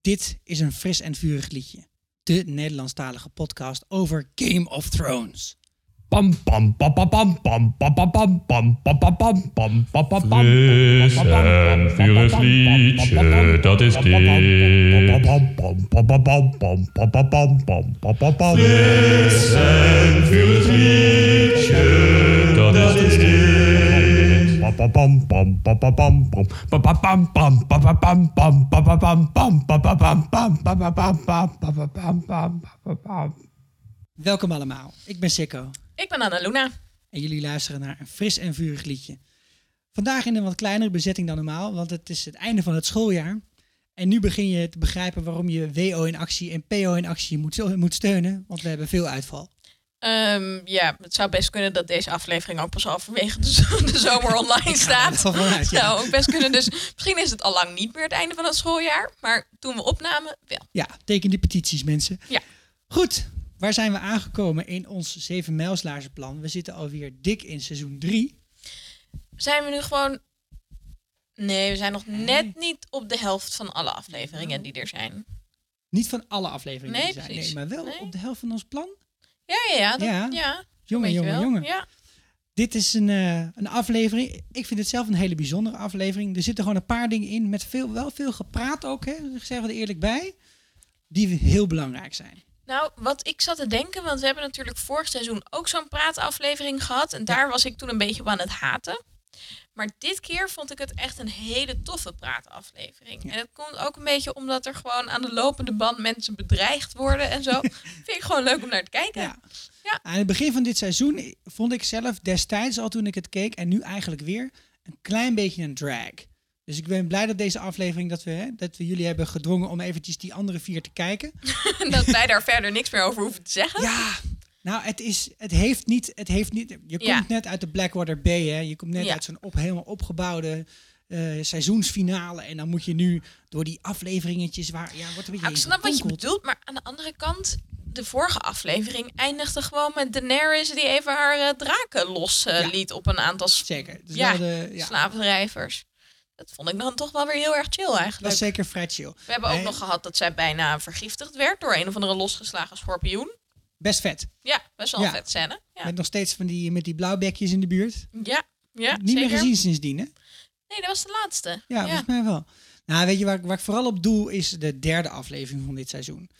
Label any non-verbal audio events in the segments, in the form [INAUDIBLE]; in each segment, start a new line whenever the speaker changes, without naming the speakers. Dit is een fris en vurig liedje. De Nederlandstalige podcast over Game of Thrones.
Pam pam pam pam pam pam pam pam pam pam pam pam pam pam pam pam pam
Fris en vurig liedje, dat is dit. Fris en vurig liedje, dat is dit.
Welkom allemaal. Ik ben Sikko
Ik ben Anna Luna.
en jullie luisteren naar een fris en vurig liedje. Vandaag in een wat kleinere bezetting dan normaal, want het is het einde van het schooljaar. En nu begin je te begrijpen waarom je WO in actie en PO in actie moet, moet steunen, want we hebben veel uitval.
Ehm, ja, het zou best kunnen dat deze aflevering ook pas halverwege de, zo- de zomer online staat.
wel vanuit, ja.
Nou, ook best kunnen. Dus misschien is het al lang niet meer het einde van het schooljaar. Maar toen we opnamen, wel.
Ja, teken die petities, mensen.
Ja.
Goed, waar zijn we aangekomen in ons 7 plan? We zitten alweer dik in seizoen 3.
Zijn we nu gewoon. Nee, we zijn nog net niet op de helft van alle afleveringen
Nou.
die er zijn.
Niet van alle afleveringen
Nee,
die er zijn,
precies.
nee, maar wel
Nee.
op de helft van ons plan.
Ja, ja, ja. Dat,
Ja.
ja.
Jongen,
weet je
jongen,
wel.
jongen.
Ja.
Dit is een, eh, een aflevering. Ik vind het zelf een hele bijzondere aflevering. Er zitten gewoon een paar dingen in met veel, wel veel gepraat ook, hè. Dat zeggen we er eerlijk bij. Die heel belangrijk zijn.
Nou, wat ik zat te denken, want we hebben natuurlijk vorig seizoen ook zo'n praataflevering gehad. En daar was ik toen een beetje op aan het haten. Maar dit keer vond ik het echt een hele toffe praataflevering. En dat komt ook een beetje omdat er gewoon aan de lopende band mensen bedreigd worden en zo. Vind ik gewoon leuk om naar te kijken.
Ja.
Ja,
Aan het begin van dit seizoen vond ik zelf destijds al toen ik het keek en nu eigenlijk weer een klein beetje een drag. Dus ik ben blij dat deze aflevering, dat we, hè, dat we jullie hebben gedwongen om eventjes die andere vier te kijken.
en dat wij daar verder niks meer over hoeven te zeggen.
Ja, nou het is, het heeft niet, het heeft niet, je komt
Ja.
net uit de Blackwater Bay hè, je komt net
Ja.
uit zo'n op, helemaal opgebouwde eh, seizoensfinale en dan moet je nu door die afleveringetjes waar, ja, wordt een beetje
Nou, ik snap wat je
gedonkeld.
bedoelt, maar aan de andere kant, de vorige aflevering eindigde gewoon met Daenerys die even haar eh, draken los eh,
Ja.
liet op een aantal s-
Zeker, dus
Ja,
wel de, ja,
slaapdrijvers. Dat vond ik dan toch wel weer heel erg chill
dat
eigenlijk.
is zeker vrij chill.
We hebben ook
Nee.
nog gehad dat zij bijna vergiftigd werd door een of andere losgeslagen schorpioen.
Best vet.
Ja, best wel
Ja.
een vet scène. Ja,
Met nog steeds van die, met die blauwbekjes in de buurt.
ja, ja
Niet
zeker.
meer gezien sindsdien, hè?
Nee, dat was de laatste.
Ja,
Ja,
volgens mij wel. Nou, weet je waar, ik- waar ik vooral op doe, is de derde aflevering van dit seizoen.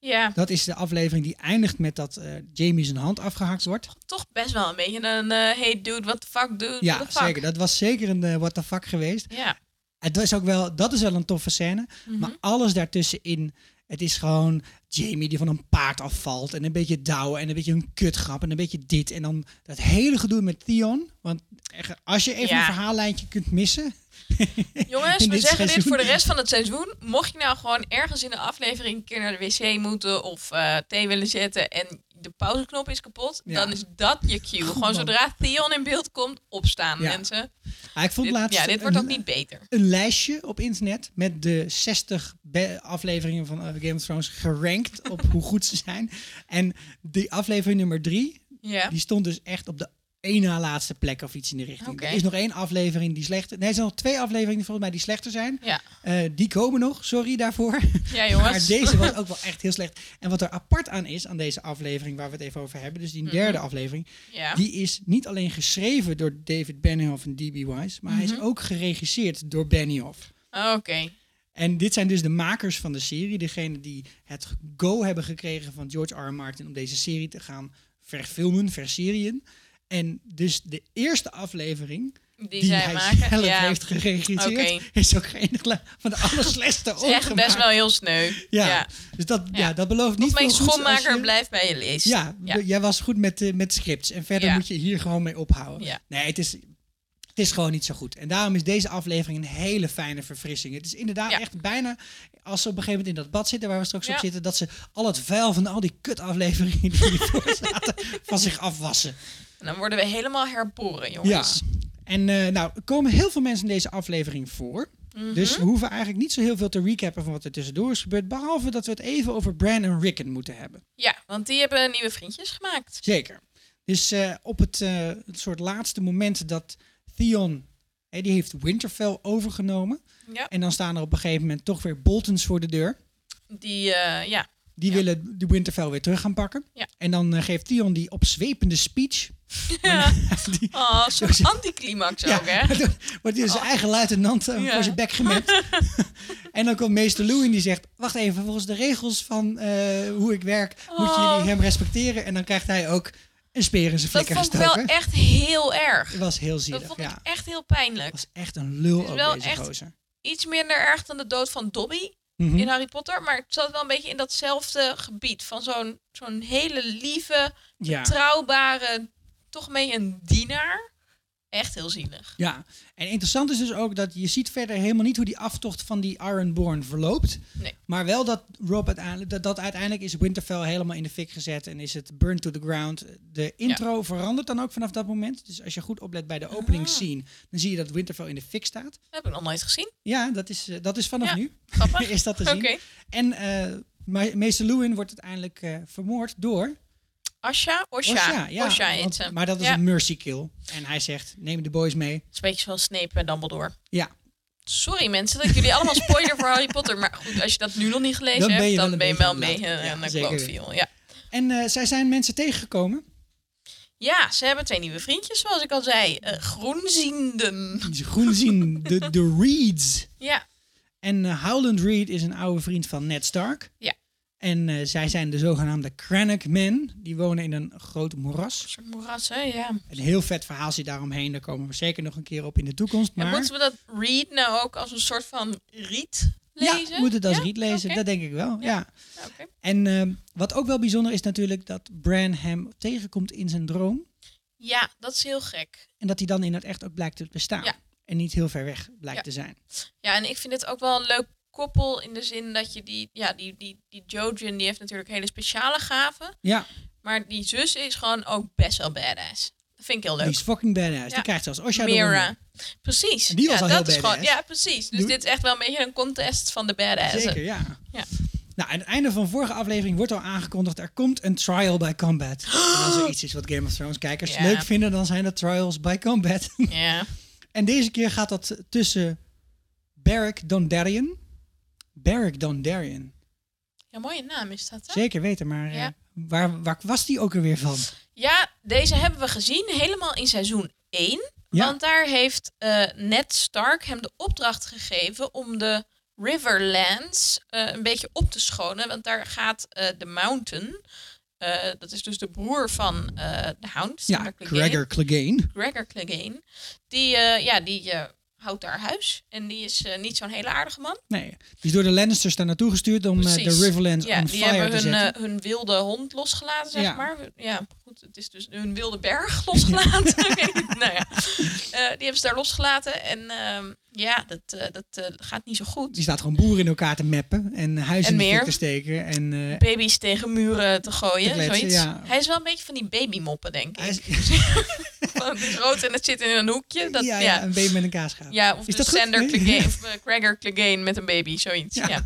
Ja,
Dat is de aflevering die eindigt met dat eh, Jamie zijn hand afgehakt wordt.
toch best wel een beetje een eh hey dude, what the fuck dude,
Ja,
what the fuck.
zeker. Dat was zeker een eh, what the fuck geweest.
Ja,
Het was ook wel, dat is wel een toffe scène.
Mhm.
Maar alles daartussenin, het is gewoon Jamie die van een paard afvalt. En een beetje douwen en een beetje een kutgrap en een beetje dit. En dan dat hele gedoe met Theon. Want echt, als je even
Ja.
een verhaallijntje kunt missen,
Jongens,
In
we
dit
zeggen dit
seizoen.
voor de rest van het seizoen. Mocht je nou gewoon ergens in de aflevering een keer naar de wc moeten of eh, thee willen zetten en de pauzeknop is kapot,
Ja.
dan is dat je cue.
Goed, man.
gewoon zodra Theon in beeld komt, opstaan
Ja.
mensen.
Ah, ik vond
Dit,
laatst
ja, dit wordt
een-
ook niet beter.
een lijstje op internet met de 60 be- afleveringen van eh, Game of Thrones gerankt
[LAUGHS]
op hoe goed ze zijn. En die aflevering nummer 3,
Ja.
die stond dus echt op de één na laatste plek of iets in de richting.
Oké.
Er is nog één aflevering die slechter... Nee, er zijn nog twee afleveringen volgens mij die slechter zijn.
Ja.
Eh, die komen nog, sorry daarvoor.
ja,
Maar
jongens.
deze was ook wel echt heel slecht. En wat er apart aan is, aan deze aflevering waar we het even over hebben, dus die derde aflevering,
Mhm. ja.
die is niet alleen geschreven door David Benioff en D.B. Wise, maar hij
Mhm.
is ook geregisseerd door Benioff.
Oké.
En dit zijn dus de makers van de serie. Degene die het go hebben gekregen van George R. R. Martin om deze serie te gaan verfilmen, verserien. En dus de eerste aflevering
Die,
die,
zij
hij
maken.
zelf
Ja.
heeft geregisseerd,
Oké.
is ook geen enkele van de allerslechtste
[LAUGHS] Het is echt
opgemaakt.
best wel heel sneu.
Ja.
Ja.
Dus dat, ja.
Ja.
dat belooft niet
Niet
veel
mijn
goeds als
schoonmaker
je-
blijft bij je lees.
Ja,
Ja.
jij was goed met, eh, met scripts. En verder
Ja.
moet je hier gewoon mee ophouden.
Ja.
Nee, het is, het is gewoon niet zo goed. En daarom is deze aflevering een hele fijne verfrissing. Het is inderdaad
Ja.
echt bijna als ze op een gegeven moment in dat bad zitten waar we straks op
Ja.
zitten, dat ze al het vuil van al die kutafleveringen die hiervoor [LAUGHS] zaten van zich afwassen.
En dan worden we helemaal herboren,
Ja.
jongens.
En eh, nou, er komen heel veel mensen in deze aflevering voor.
Mhm.
Dus we hoeven eigenlijk niet zo heel veel te recappen van wat er tussendoor is gebeurd. Behalve dat we het even over Bran en Rickon moeten hebben.
ja, want die hebben nieuwe vriendjes gemaakt.
Zeker. Dus eh, op het, eh, het soort laatste moment dat Theon Hè, die heeft Winterfell overgenomen.
Ja.
En dan staan er op een gegeven moment toch weer Boltons voor de deur.
Die, eh, ja.
Die
Ja.
willen de Winterfell weer terug gaan pakken.
Ja.
En dan eh, geeft Theon die opzwepende speech. Die-
Oh,
[LAUGHS]
een soort anticlimax ook, hè? Oh.
waardoor- Wordt hij zijn eigen luitenant eh,
Ja.
voor zijn bek
[LAUGHS]
gemapt. en dan komt meester Lou en die zegt... Wacht even, volgens de regels van eh, hoe ik werk... moet
Oh.
jullie hem respecteren. En dan krijgt hij ook een speer in zijn
Dat
flikker
vond ik
gestoken.
wel echt heel erg.
Het was heel
Dat
zielig,
vond
ja.
ik echt heel pijnlijk.
was echt een lul
Het is
ook
wel
deze
echt-
gozer.
Iets minder erg dan de dood van Dobby
Mhm.
in Harry Potter. Maar het zat wel een beetje in datzelfde gebied. Van zo'n zo'n hele lieve,
Ja.
trouwbare, toch mee een dienaar. Echt heel zielig.
ja. En interessant is dus ook dat je ziet verder helemaal niet hoe die aftocht van die Ironborn verloopt.
Nee.
Maar wel dat Rob uiteindelijk, dat, dat uiteindelijk is Winterfell helemaal in de fik gezet en is het burned to the ground. De intro verandert dan ook vanaf dat moment. Dus als je goed oplet bij de
Ah.
openingsscene, dan zie je dat Winterfell in de fik staat.
Dat heb ik nog nooit gezien.
Ja, dat is, eh, dat is vanaf
Ja.
nu. [LAUGHS]
Grappig.
is dat te
Oké.
zien. En eh, me- meester Lewin wordt uiteindelijk eh, vermoord door
Asha? Osha. Osha, heet
want-
ze.
Maar dat is
Ja.
een mercy kill. En hij zegt, neem de boys mee.
Het is een beetje zoals Snape en Dumbledore.
Ja,
Sorry mensen dat ik jullie allemaal spoiler voor Harry Potter. Maar goed, als je dat nu nog niet gelezen
Dan ben je
hebt,
wel
dan
een
ben je
beetje
wel
aan het
mee
laten.
eh,
Ja,
aan de
zeker
Cloverfield. Ja.
en eh, zij zijn mensen tegengekomen.
ja, ze hebben twee nieuwe vriendjes, zoals ik al zei. Eh, groenzienden.
Die ze groen
[LAUGHS]
zien, de, de Reeds.
Ja,
En eh, Howland Reed is een oude vriend van Ned Stark.
Ja.
En eh, zij zijn de zogenaamde Krennic Men. Die wonen in een groot
een
moeras.
soort moeras, hè? Ja.
Een heel vet verhaal zit daaromheen. Daar komen we zeker nog een keer op in de toekomst.
En
Maar
moeten we dat read nou ook als een soort van riet lezen?
ja, moet het als
Ja?
Reed lezen.
Oké.
Dat denk ik wel, ja.
Ja, oké.
En eh, wat ook wel bijzonder is natuurlijk dat Bran hem tegenkomt in zijn droom.
Ja, dat is heel gek.
En dat hij dan in het echt ook blijkt te bestaan.
Ja.
En niet heel ver weg blijkt
Ja.
te zijn.
Ja, en ik vind het ook wel een leuk koppel in de zin dat je die... Ja, die, die, die Jojen die heeft natuurlijk hele speciale gaven.
Ja,
Maar die zus is gewoon ook best wel badass. Dat vind ik heel
die
leuk.
is fucking badass.
Ja.
Die krijgt zelfs Osha
Mira. Precies.
En die was
ja,
al
dat
heel
is gewoon,
badass.
Ja, precies. Dus
Doe-
dit is echt wel een beetje een contest van de badass.
Zeker, ja.
Ja.
Nou, aan het einde van vorige aflevering wordt al aangekondigd... er komt een trial by
[GASPS]
combat. En als er iets is wat Game of Thrones kijkers
Ja.
leuk vinden... dan zijn dat trials by combat. [LAUGHS]
Ja.
en deze keer gaat dat tussen Beric Dondarrion... Beric Dondarrion.
ja, mooie naam is dat, hè?
Zeker weten, maar
Ja.
eh, waar, waar was die ook alweer van?
Ja, deze hebben we gezien helemaal in seizoen 1.
Ja.
Want daar heeft eh, Ned Stark hem de opdracht gegeven om de Riverlands eh, een beetje op te schonen. Want daar gaat eh, de Mountain, eh, dat is dus de broer van eh, de Hound.
Ja,
Sarah Clegane.
Gregor Clegane.
Gregor Clegane. Die, eh, ja, die eh, houdt daar huis. En die is eh, niet zo'n hele aardige man.
Nee, die is door de Lannisters daar naartoe gestuurd om eh, de
Precies.
Riverlands
Ja,
on
die
fire
hebben
te
hun,
zetten.
eh, hun wilde hond losgelaten, zeg
Ja.
maar. Ja, goed, het is dus hun wilde berg [LAUGHS] losgelaten. Ik weet niet, nou ja. Eh, die hebben ze daar losgelaten. En ehm, ja, dat, eh, dat eh, gaat niet zo goed.
Die staat gewoon boeren in elkaar te mappen en huizen
En
in de
meer.
fik te steken. En, eh,
Baby's tegen muren te gooien,
Te kletsen,
zoiets.
ja.
Hij is wel een beetje van die babymoppen, denk
hij
[LAUGHS] ik.
is-
Van, Het is rood en het zit in een hoekje.
[LAUGHS]
Dat,
ja,
ja.
ja, een baby met een kaasgaaf.
Ja,
Is
of de
dat goed?
Sander
Nee. [LAUGHS]
Clegane, of eh, Gregor Clegane met een baby, zoiets. Ja.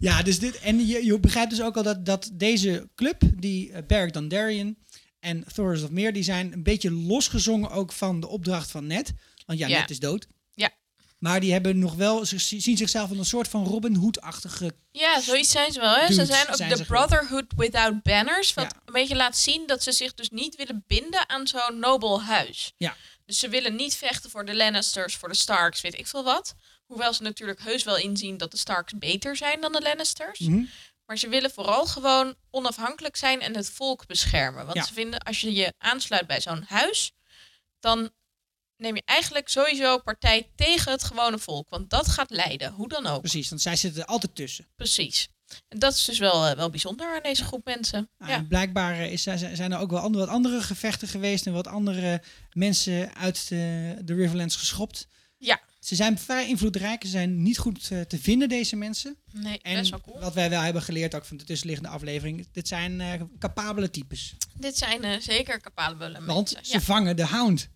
Ja, dus dit, en je, je begrijpt dus ook al dat, dat deze club, die eh, Beric Dondarrion en Thoris of Meer, die zijn een beetje losgezongen ook van de opdracht van Ned. Want ja,
Ja.
Ned is dood.
Ja.
Maar die hebben nog wel, ze zi- zien zichzelf als een soort van Robin Hood-achtige...
Ja, zoiets zijn ze wel. Hè? ze
Dus Dudes
zijn ook
zijn
de
ze gewoon.
Brotherhood Without Banners. Wat
Ja.
een beetje laat zien dat ze zich dus niet willen binden aan zo'n nobel huis.
Ja.
Dus ze willen niet vechten voor de Lannisters, voor de Starks, weet ik veel wat. Hoewel ze natuurlijk heus wel inzien dat de Starks beter zijn dan de Lannisters.
Mhm.
Maar ze willen vooral gewoon onafhankelijk zijn en het volk beschermen. Want
Ja.
ze vinden als je je aansluit bij zo'n huis, dan neem je eigenlijk sowieso partij tegen het gewone volk. Want dat gaat leiden, hoe dan ook.
Precies, want zij zitten er altijd tussen.
Precies. En dat is dus wel, eh, wel bijzonder aan deze groep mensen.
Nou,
ja.
en Blijkbaar eh, is, zijn zijn er ook wel andere, wat andere gevechten geweest en wat andere mensen uit de, de Riverlands geschopt.
ja,
Ze zijn vrij invloedrijk, ze zijn niet goed eh, te vinden, deze mensen.
nee,
En
best wel cool.
wat wij wel hebben geleerd, ook van de tussenliggende aflevering, dit zijn eh, capabele types.
Dit zijn eh, zeker capabele
Want
mensen.
ze
Ja.
vangen de hound.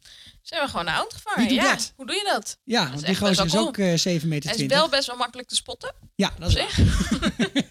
Ze hebben gewoon een hound gevangen.
Wie doet
ja.
dat?
Hoe doe je dat?
Ja,
is
want die
echt best
gozer is
wel
ook eh 7 meter
Hij is wel
20.
best wel makkelijk te spotten.
Ja, dat is
op
waar. [LAUGHS]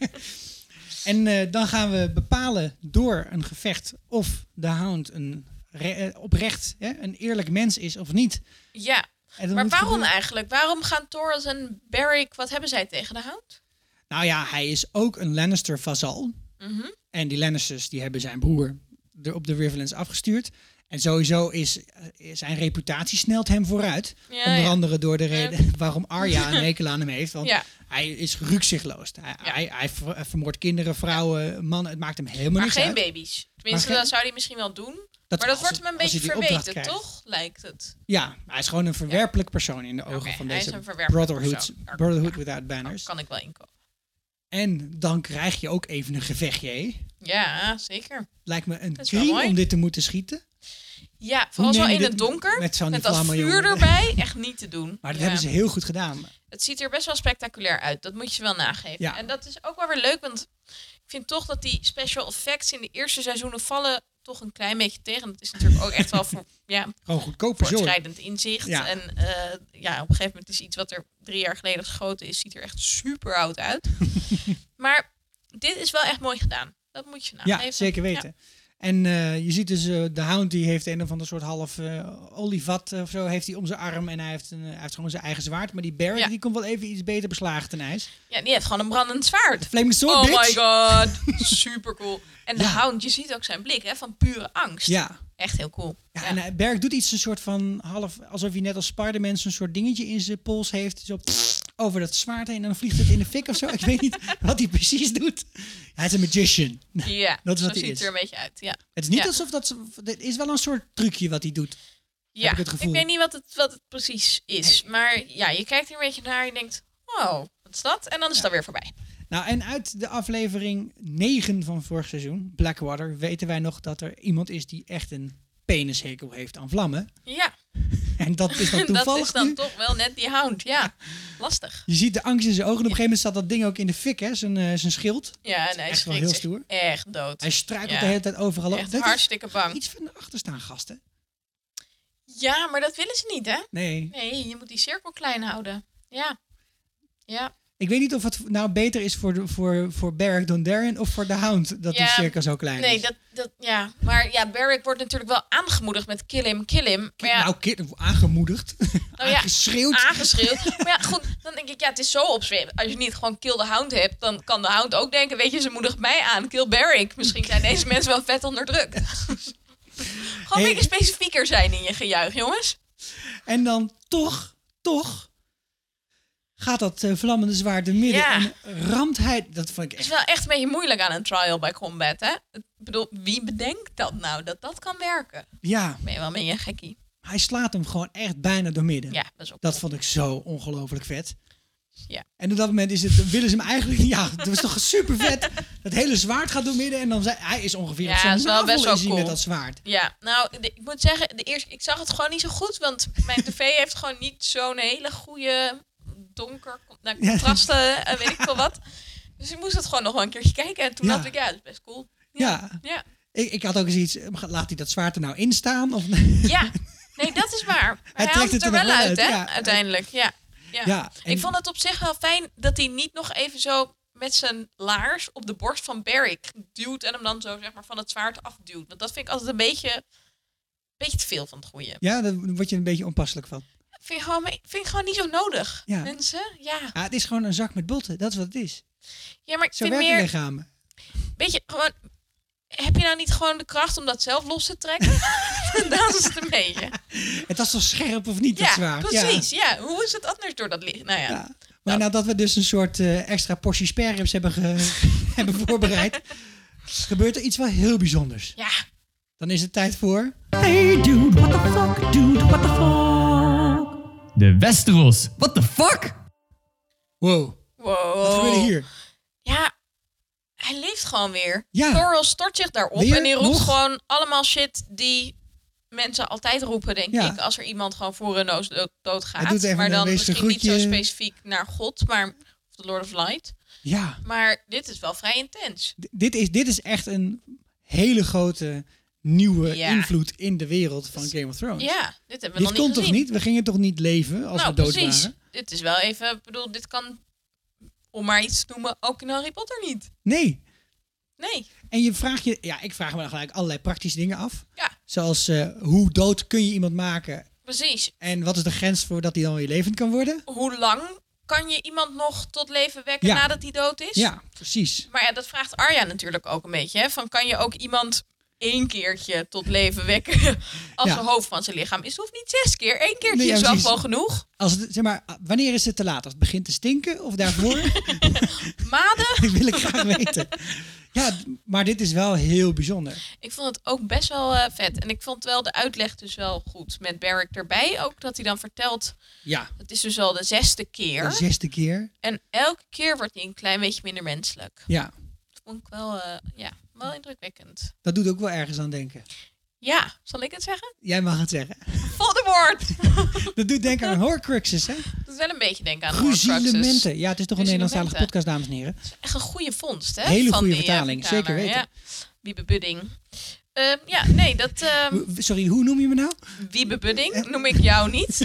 En eh, dan gaan we bepalen door een gevecht of de hound een re- eh, oprecht hè, een eerlijk mens is of niet.
Ja,
En dat
Maar
moet
waarom
gebeuren.
eigenlijk? Waarom gaan Torres en Barrick, wat hebben zij tegen de hout?
Nou ja, hij is ook een Lannister-vazal.
Mhm.
En die Lannisters die hebben zijn broer er op de Riverlands afgestuurd. En sowieso is eh, zijn reputatie snelt hem vooruit.
Ja,
Onder
ja.
andere door de reden [LAUGHS] waarom Arya een hekel aan hem heeft. Want
Ja.
hij is rukzichtloos. Hij, hij, hij ver- hij vermoort kinderen, vrouwen, mannen. Het maakt hem helemaal
Maar
niks
geen
uit.
baby's. Tenminste,
geen-
dat zou hij misschien wel doen.
Dat
maar dat
als-
wordt hem een
als hij
beetje
die opdracht
verweten,
krijgt.
toch? Lijkt het.
Ja, hij is gewoon een verwerpelijk persoon in de ogen
Oké,
van
hij is
deze
een verwerpelijk
brotherhood,
persoon. Daar-
brotherhood
ja. Oh,
Without Banners.
Kan ik wel inkomen.
En dan krijg je ook even een gevechtje. hè?
Ja, zeker.
Lijkt me een
is wel
crime
mooi.
om dit te moeten schieten.
Ja, vooral zo
neem je
in
dit
het donker.
met
Met,
zo'n
dat
vlammen,
vuur
jongen?
erbij. Echt niet te doen.
Maar dat
Ja.
hebben ze heel goed gedaan.
Het ziet er best wel spectaculair uit. Dat moet je ze wel nageven.
Ja.
En dat is ook wel weer leuk, want ik vind toch dat die special effects in de eerste seizoenen vallen toch een klein beetje tegen. Dat is natuurlijk ook echt
[LAUGHS]
wel voor, ja,
Gewoon goedkoop verzorgd.
voortschrijdend inzicht.
Ja.
En eh, ja, op een gegeven moment is iets wat er drie jaar geleden geschoten is, ziet er echt super oud
[LAUGHS]
uit. maar dit is wel echt mooi gedaan. Dat moet je nageven.
Ja, zeker weten. En eh, je ziet dus, eh, de hound die heeft een of ander soort half eh, olievat of zo, heeft hij om zijn arm en hij heeft, een, eh, hij heeft gewoon zijn eigen zwaard. Maar die Barrett,
Ja.
die komt wel even iets beter beslagen ten ijs.
Ja. ja, die heeft gewoon een brandend zwaard.
Flaming sword,
Oh
bitch!
my
[LAUGHS]
god, super cool. En de
Ja.
hound, je ziet ook zijn blik hè, van pure angst.
Ja.
Echt heel cool.
Ja, en hij- Berk doet iets een soort van half, alsof hij net als Spider-Man zo'n soort dingetje in zijn pols heeft. Zo over dat zwaard heen en dan vliegt het in de fik of zo. Ik weet niet [LAUGHS] wat hij precies doet. Hij is een magician.
Ja,
Dat is
zo
wat hij
ziet het
is.
er een beetje uit. Ja,
Het is niet
Ja.
alsof dat, ze- dit is wel een soort trucje wat hij doet.
ja.
ik het gevoel.
weet niet wat het, wat het precies is. Maar ja, je kijkt er een beetje naar en je denkt, oh, wat is dat? En dan is dat weer voorbij.
Nou, en uit de aflevering 9 van vorig seizoen, Blackwater, weten wij nog dat er iemand is die echt een penishekel heeft aan vlammen. [LAUGHS]
Ja,
En dat is dan toevallig
[LAUGHS] dat is dan
nu.
toch wel net die hound. Ja, lastig.
Je ziet de angst in zijn ogen. En op een gegeven moment staat dat ding ook in de fik, hè, zijn, eh, zijn schild.
Ja, en hij
echt wel
schrikt
heel
zich
stoer.
echt dood.
Hij struikelt
Ja.
de hele tijd overal over.
echt
Dat is
hartstikke bang.
iets van de achterstaan, gasten.
Ja, maar dat willen ze niet, hè?
Nee.
Nee, je moet die cirkel klein houden. Ja. Ja,
Ik weet niet of het nou beter is voor, de, voor, voor Beric Dondarrion of voor de Hound dat die
Ja.
cirkel zo klein
nee,
is.
dat, dat, ja. Maar ja, Barrick wordt natuurlijk wel aangemoedigd met kill him, kill him. Maar ja,
Nou, kind, aangemoedigd.
Nou ja,
[LAUGHS] aangeschreeuwd.
aangeschreeuwd. Maar ja, goed, dan denk ik, ja, het is zo opzwepend. Als je niet gewoon kill the hound hebt, dan kan de hound ook denken, weet je, ze moedigt mij aan, kill Barrick. Misschien zijn
[LAUGHS]
deze mensen wel vet onderdrukt. gewoon
Hey.
een beetje specifieker zijn in je gejuich, jongens.
En dan toch, toch gaat dat eh, vlammende zwaard er midden
Ja.
en ramt hij. Dat vond ik
Het is
echt.
wel echt een beetje moeilijk aan een trial by combat, hè? Ik bedoel, wie bedenkt dat nou, dat dat kan werken?
Ja,
Ben je wel mee, een gekkie?
hij slaat hem gewoon echt bijna door midden.
Ja, dat is ook
Dat
cool.
vond ik zo ongelooflijk vet.
Ja.
En op dat moment is het, willen ze hem eigenlijk. Ja, dat was toch super vet. Dat hele zwaard gaat door midden en dan zijn, hij is ongeveer
Ja,
op zijn
is wel
navel
best wel
is hij met
cool.
dat zwaard.
Ja, nou, de- ik moet zeggen, de eerste, ik zag het gewoon niet zo goed, want
[LAUGHS]
mijn tv heeft gewoon niet zo'n hele goede donker, nou, contrasten, eh, weet ik veel wat. Dus ik moest het gewoon nog wel een keertje kijken en toen
Ja.
dacht ik, ja, dat is best cool.
Ja.
Ja,
Ik, ik had ook eens iets. eh, Laat hij dat zwaard er nou in staan? Of,
ja. nee, dat is waar. Maar hij,
trekt het
haalt het
er
er
nog
wel
wel
uit,
uit,
hè,
ja.
uiteindelijk. Ja, ja.
Ja, en-
Ik vond het op zich wel fijn dat hij niet nog even zo met zijn laars op de borst van Barrick duwt en hem dan zo zeg maar van het zwaard afduwt. Want dat vind ik altijd een beetje, beetje te veel van het goede.
ja, daar word je een beetje onpasselijk van.
Vind ik gewoon, vind ik gewoon niet zo nodig.
Ja.
Mensen, ja.
Ja, het is gewoon een zak met botten. Dat is wat het is.
Ja, maar ik
Zo
vind
werken
meer,
lichamen.
weet je, gewoon, heb je nou niet gewoon de kracht om dat zelf los te trekken?
[LAUGHS]
dat is het een beetje.
Het was toch scherp of niet, dat
Ja,
zwaard?
precies. Ja. hoe is het anders door dat licht? Nou ja.
Ja. Maar nadat we dus een soort eh, extra portie sperrums hebben, ge- [LAUGHS] hebben voorbereid, gebeurt er iets wel heel bijzonders.
ja.
Dan is het tijd voor.
Hey dude, what the fuck, dude, what the fuck. De Westeros, what the fuck?
Wow,
Wow.
wat gebeurde hier?
Ja, hij leeft gewoon weer.
Ja.
Thorol stort zich daarop
Weer?
en die roept
Nog?
gewoon allemaal shit die mensen altijd roepen, denk
Ja.
ik, als er iemand gewoon voor hun neus dood-
Hij
doodgaat.
doet even
maar
een
dan
wees een
misschien niet
groetje.
zo specifiek naar God, maar of de Lord of Light.
Ja,
Maar dit is wel vrij intens.
d- dit is, dit is echt een hele grote nieuwe
Ja.
invloed in de wereld van Game of Thrones.
Ja, dit hebben we
Dit
nog
kon
niet
toch
gezien.
niet? We gingen toch niet leven als
nou,
we dood
precies.
waren?
Dit is wel even, ik bedoel, dit kan, om maar iets te noemen, ook in Harry Potter niet.
Nee.
Nee.
En je vraagt je, ja, ik vraag me dan gelijk allerlei praktische dingen af.
Ja.
Zoals eh, hoe dood kun je iemand maken
Precies.
En wat is de grens voor dat hij dan weer levend kan worden?
Hoe lang kan je iemand nog tot leven wekken
Ja.
nadat hij dood is?
Ja, precies.
Maar ja, dat vraagt Arya natuurlijk ook een beetje. Hè? Van kan je ook iemand één keertje tot leven wekken [LAUGHS] als
Ja.
de hoofd van zijn lichaam is? Het hoeft niet zes keer. Eén keertje
Nee, ja,
is wel
precies.
gewoon genoeg.
Als het, zeg maar, wanneer is het te laat? Als het begint te stinken of daarvoor?
[LAUGHS]
[LAUGHS]
Maden.
dat wil ik graag weten. Ja, d- maar dit is wel heel bijzonder.
Ik vond het ook best wel eh, vet. En ik vond wel de uitleg dus wel goed. Met Barrick erbij ook. Dat hij dan vertelt,
Ja.
het is dus al de zesde keer.
De zesde keer.
En elke keer wordt hij een klein beetje minder menselijk.
Ja.
Dat vond ik wel, eh, ja, wel indrukwekkend.
Dat doet ook wel ergens aan denken.
Ja, zal ik het zeggen?
Jij mag het zeggen.
Volgende woord! [LAUGHS]
Dat doet denken aan Horcruxes, hè?
Dat is wel een beetje denken aan Horcruxes.
Gruzilementen. Ja, het is toch een
Gruzilementen.
Nederlandstalige podcast, dames en heren.
Echt een goede vondst, hè?
Hele
van
goede
die, eh,
vertaling,
vertaler,
zeker weten.
Ja. Wiebe Budding. Eh, ja, nee, dat ehm
W- Sorry, hoe Eh? noem je
[LAUGHS]
me nou?
Wiebe Budding noem ik jou niet.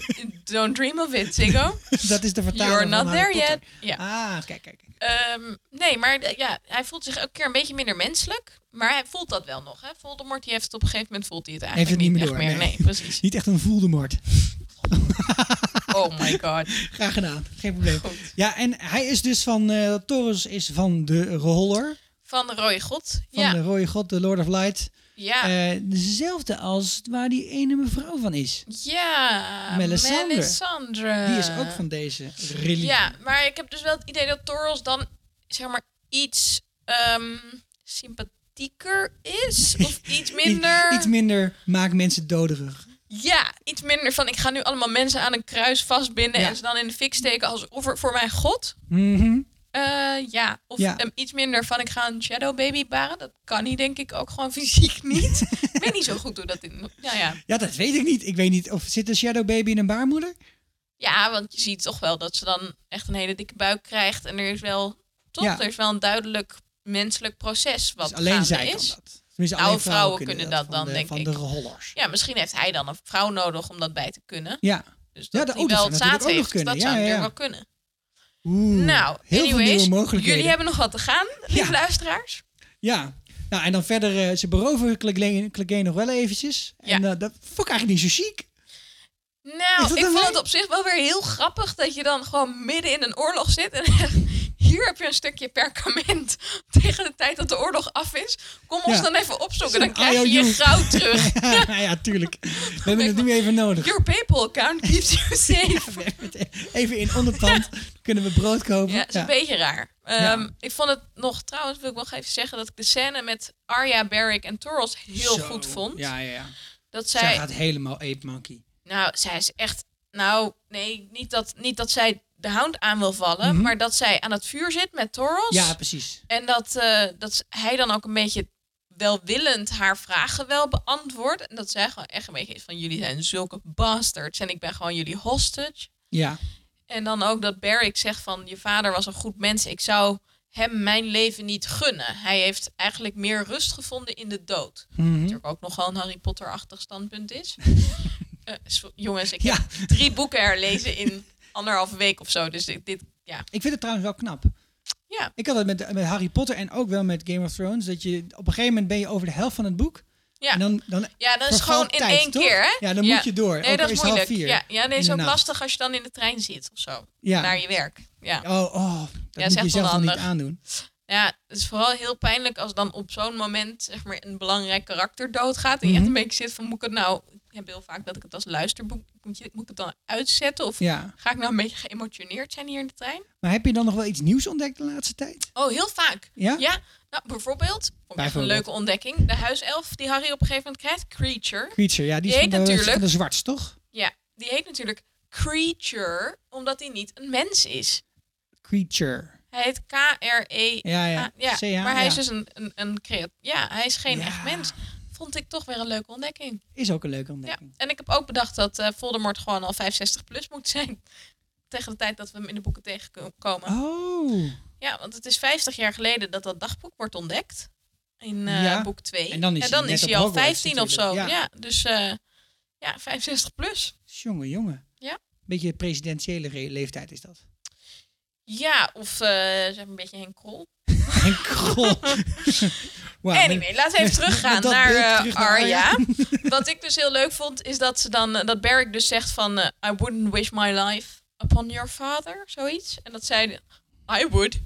Don't dream of it, Ziggo.
Dat is de vertaling
You're not
van Harry
there yet.
Potter.
Ja.
Ah, kijk, kijk. kijk.
Ehm, nee, maar de- ja, hij voelt zich elke keer een beetje minder menselijk. Maar hij voelt dat wel nog. Hè? Voldemort die heeft het op een gegeven moment voelt hij het
Heeft
eigenlijk
het niet meer
echt
door.
meer. Nee,
[LAUGHS]
precies.
Niet echt een voeldemoord.
Oh my god.
Graag gedaan, geen probleem.
Goed.
Ja, en hij is dus van, eh Torres is van de Roller,
Van de rode god.
van
ja.
de Rode God, de Lord of Light.
ja.
Eh, dezelfde als waar die ene mevrouw van is.
ja.
Melisandre.
Melisandre.
Die is ook van deze religie.
Eh, Ja, maar ik heb dus wel het idee dat Toros dan zeg maar iets ehm, sympathieker
[LAUGHS]
is. Of iets
I-
minder.
iets minder maakt mensen doderig.
ja, iets minder van ik ga nu allemaal mensen aan een kruis vastbinden
Ja.
en ze dan in de fik steken als offer voor mijn god.
Mhm.
Eh, ja, of
Ja.
ehm, iets minder van ik ga een shadow baby baren. Dat kan hij denk ik ook gewoon [LAUGHS] fysiek niet. ik weet niet zo goed hoe dat in... Nou ja.
Ja, dat weet ik niet. Ik weet niet of zit een shadow baby in een baarmoeder?
ja, want je ziet toch wel dat ze dan echt een hele dikke buik krijgt. En er is wel, toch,
Ja.
er is wel een duidelijk menselijk proces wat
Dus alleen
gaande
zij
is.
kan dat. Tenminste,
Oude
alleen
vrouwen kunnen dat
van
dan,
de,
denk
van
ik.
de Rollers.
Ja, misschien heeft hij dan een vrouw nodig om dat bij te kunnen.
Ja.
Dus
Ja,
dat
dat-
hij
oh, dat
wel
zou
het
natuurlijk
zaad
ook nog
heeft,
kunnen.
dat
Ja,
zou
ja,
natuurlijk
ja.
wel kunnen.
Oeh,
nou,
heel veel
anyways,
nieuwe mogelijkheden.
jullie hebben nog wat te gaan, lieve
Ja.
luisteraars.
Ja. Nou, en dan verder, eh, ze beroven Clegane Clegane nog wel eventjes.
Ja.
En eh, dat vond ik eigenlijk niet zo chic. [LAUGHS] Is
Nou,
dat
ik
een
vond
wij?
het op zich wel weer heel grappig dat je dan gewoon midden in een oorlog zit. En hier heb je een stukje perkament [LAUGHS] tegen de tijd dat de oorlog af is. Kom ons
Ja.
dan even opzoeken,
Zo'n
dan krijg je je
IOU.
goud terug.
[LAUGHS] nou ja, tuurlijk.
[LAUGHS]
We hebben het nu even nodig. [LAUGHS]
Your PayPal account keeps you safe.
Even in onderpand
[LAUGHS]
kunnen we brood kopen.
Ja, het is een beetje raar.
Ja.
Ehm, Ik vond het nog, trouwens wil ik nog even zeggen... dat ik de scène met Arya, Barrick en Toros heel
Zo.
goed vond.
Ja, ja, ja.
Dat
Zij,
zij,
gaat helemaal Ape Monkey.
nou, zij is echt... Nou, nee, niet dat, niet dat zij de hound aan wil vallen...
Mhm.
maar dat zij aan het vuur zit met Toros.
Ja, precies.
En dat, eh, dat z- hij dan ook een beetje welwillend haar vragen wel beantwoordt. En dat zij gewoon echt een beetje is van... jullie zijn zulke bastards en ik ben gewoon jullie hostage.
Ja,
En dan ook dat Barrick zegt van je vader was een goed mens. Ik zou hem mijn leven niet gunnen. Hij heeft eigenlijk meer rust gevonden in de dood.
Mhm.
Natuurlijk ook nogal een Harry Potter-achtig standpunt
[LAUGHS]
is. Eh, so- jongens, ik
Ja.
heb drie boeken herlezen in anderhalve week of zo. Dus ik- dit, ja.
ik vind het trouwens wel knap.
Ja.
Ik had dat met, met Harry Potter en ook wel met Game of Thrones. Dat je op een gegeven moment ben je over de helft van het boek.
Ja.
En dan, dan
Ja, dat is
vervalt
gewoon in
tijd,
één
toch?
keer, hè?
Ja, dan moet je door. Ook
Nee,
al
dat
is
is
het half
moeilijk.
vier
Ja, ja, nee, is ook
Inderdaad.
lastig als je dan in de trein zit of zo.
Ja.
Naar je werk. Ja.
Oh, oh
is
dat
echt
moet je zelf dan niet
onhandig.
aandoen.
Ja, het is vooral heel pijnlijk als dan op zo'n moment zeg maar, een belangrijk karakter doodgaat. En je echt
Mhm.
een beetje zit van, moet ik het nou... Ik heb heel vaak dat ik het als luisterboek... Moet, je, moet ik het dan uitzetten? Of
Ja.
ga ik nou een beetje geëmotioneerd zijn hier in de trein?
Maar heb je dan nog wel iets nieuws ontdekt de laatste tijd?
Oh, heel vaak.
Ja?
nou bijvoorbeeld, vond ik echt een
Bijvoorbeeld.
leuke ontdekking. De huiself die Harry op een gegeven moment krijgt, Creature.
Creature, ja, die is
Die
van
heet
de,
natuurlijk-
van de zwarts, toch?
Ja, die heet natuurlijk Creature, omdat hij niet een mens is.
Creature.
Hij heet K-R-E...
Ja, ja.
ja,
CH,
maar hij is
ja.
dus een, een, een creat... Ja, hij is geen
Ja.
echt mens. Vond ik toch weer een leuke ontdekking.
Is ook een leuke
Ja,
ontdekking.
en ik heb ook bedacht dat eh Voldemort gewoon al 65 plus moet zijn. [LAUGHS] Tegen de tijd dat we hem in de boeken tegenkomen.
Oh.
Ja, want het is 50 jaar geleden dat dat dagboek wordt ontdekt. In eh,
Ja.
boek 2.
En dan is hij net op
hij al
Hogwarts
15 of zo. Ja,
natuurlijk, ja.
dus eh, ja, 65 plus.
Jongen, jongen.
Ja.
Beetje presidentiële re- leeftijd is dat. [LAUGHS]
[LAUGHS] Ja, of eh, zeg maar een beetje Henk Krol.
En krol. Wow,
Anyway, laten we even
[LAUGHS]
teruggaan
dat
naar,
beeld
eh,
terug naar
Arya. [LAUGHS] Wat ik dus heel leuk vond, is dat, ze dan, eh, dat Beric dus zegt van... eh, I wouldn't wish my life upon your father, zoiets. En dat zij... I would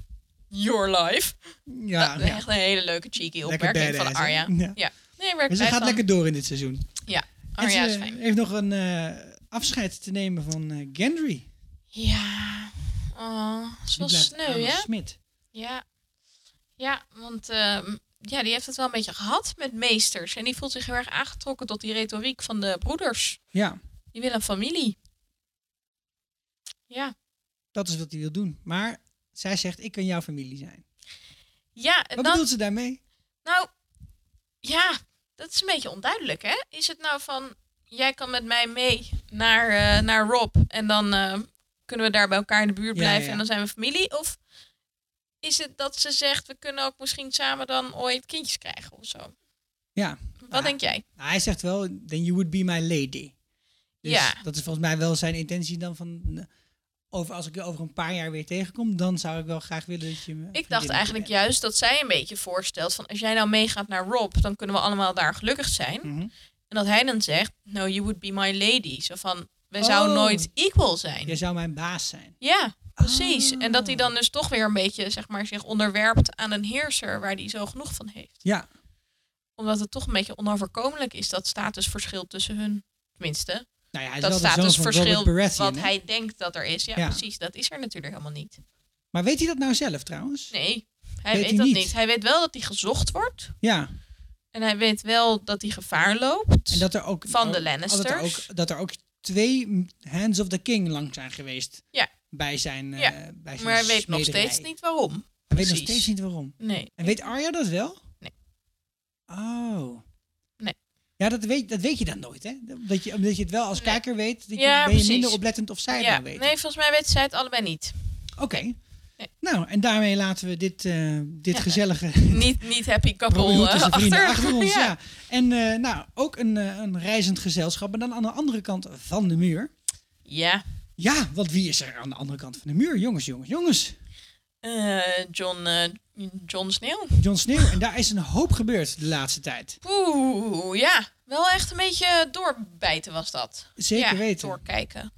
your life.
ja, Ah, ja.
Echt een hele leuke cheeky
Lekker
opmerking van
badass, hè?
Arya.
Ja.
Ja. Nee, werkt
Maar ze gaat lekker door in dit seizoen.
Oh, Ja,
En
Arya is
ze
fijn.
heeft nog een eh, afscheid te nemen van eh, Gendry. Die
Ja. Oh, het is wel
blijft aan
sneu,
als
hè?
Smid.
Ja. Ja, want ehm, ja, die heeft het wel een beetje gehad met meesters. En die voelt zich heel erg aangetrokken tot die retoriek van de broeders.
Ja,
Die willen een familie. Ja.
dat is wat hij wil doen. Maar zij zegt, ik kan jouw familie zijn.
Ja, en
Wat
dan...
bedoelt ze daarmee?
Nou, ja, dat is een beetje onduidelijk, hè? Is het nou van, jij kan met mij mee naar, eh, naar Rob en dan eh, kunnen we daar bij elkaar in de buurt
Ja,
blijven
ja.
en dan zijn we familie? Of is het dat ze zegt, we kunnen ook misschien samen dan ooit kindjes krijgen of zo?
Ja,
Wat
Ah.
denk jij?
nou, hij zegt wel, then you would be my lady. Dus
Ja.
dat is volgens mij wel zijn intentie dan van... eh, Over, als ik je over een paar jaar weer tegenkom, dan zou ik wel graag willen dat je me...
Ik dacht eigenlijk juist dat zij een beetje voorstelt van, als jij nou meegaat naar Rob, dan kunnen we allemaal daar gelukkig zijn.
Mhm.
En dat hij dan zegt, no, you would be my lady. Zo van, we
Oh.
zouden nooit equal zijn.
Jij zou mijn baas zijn.
Ja, precies. En dat
Ah.
hij dan dus toch weer een beetje zeg maar, zich onderwerpt aan een heerser waar hij zo genoeg van heeft.
Ja,
Omdat het toch een beetje onoverkomelijk is, dat statusverschil tussen hun. Tenminste,
nou ja, hij is
dat
wel de zoon van
statusverschil
Robert Baratheon.
wat
hè?
hij denkt dat er is. Ja,
Ja.
precies. Dat is er natuurlijk helemaal niet.
Maar weet hij dat nou zelf trouwens?
Nee, hij
Weet
weet,
hij
dat
niet.
niet. Hij weet wel dat hij gezocht wordt.
Ja,
En hij weet wel dat hij gevaar loopt.
en dat er ook...
Van de
oh, Dat er
Lannisters.
ook, dat er ook twee Hands of the King lang zijn geweest.
Ja.
Bij zijn eh,
Ja,
bij zijn
maar hij weet nog
smederij.
steeds niet waarom.
Hij weet nog
precies.
steeds niet waarom.
Nee.
En weet Arya dat wel?
Nee.
Oh.
Nee.
Ja, dat weet, dat weet je dan nooit, hè? Omdat je, omdat je het wel als
Nee.
kijker weet, dat je,
Ja,
ben je
precies.
minder oplettend of zij het
Ja,
nou weet.
nee, volgens mij weten zij het allebei niet.
Oké.
Nee.
Nou, en daarmee laten we dit, eh, dit
Ja. [LAUGHS]
gezellige [LAUGHS]
Niet, niet happy couple
Robin Hood
eh,
tussen vrienden
achter.
achter,
[LAUGHS]
ons. Ja. En eh, nou, ook een, eh, een reizend gezelschap, maar dan aan de andere kant van de muur.
ja.
Ja, want wie is er aan de andere kant van de muur? Jongens, jongens, jongens.
Eh, John, eh, John Sneeuw.
Jon Sneeuw. En daar is een hoop gebeurd de laatste tijd.
Oeh, ja. Wel echt een beetje doorbijten was dat.
Zeker
ja,
weten.
doorkijken.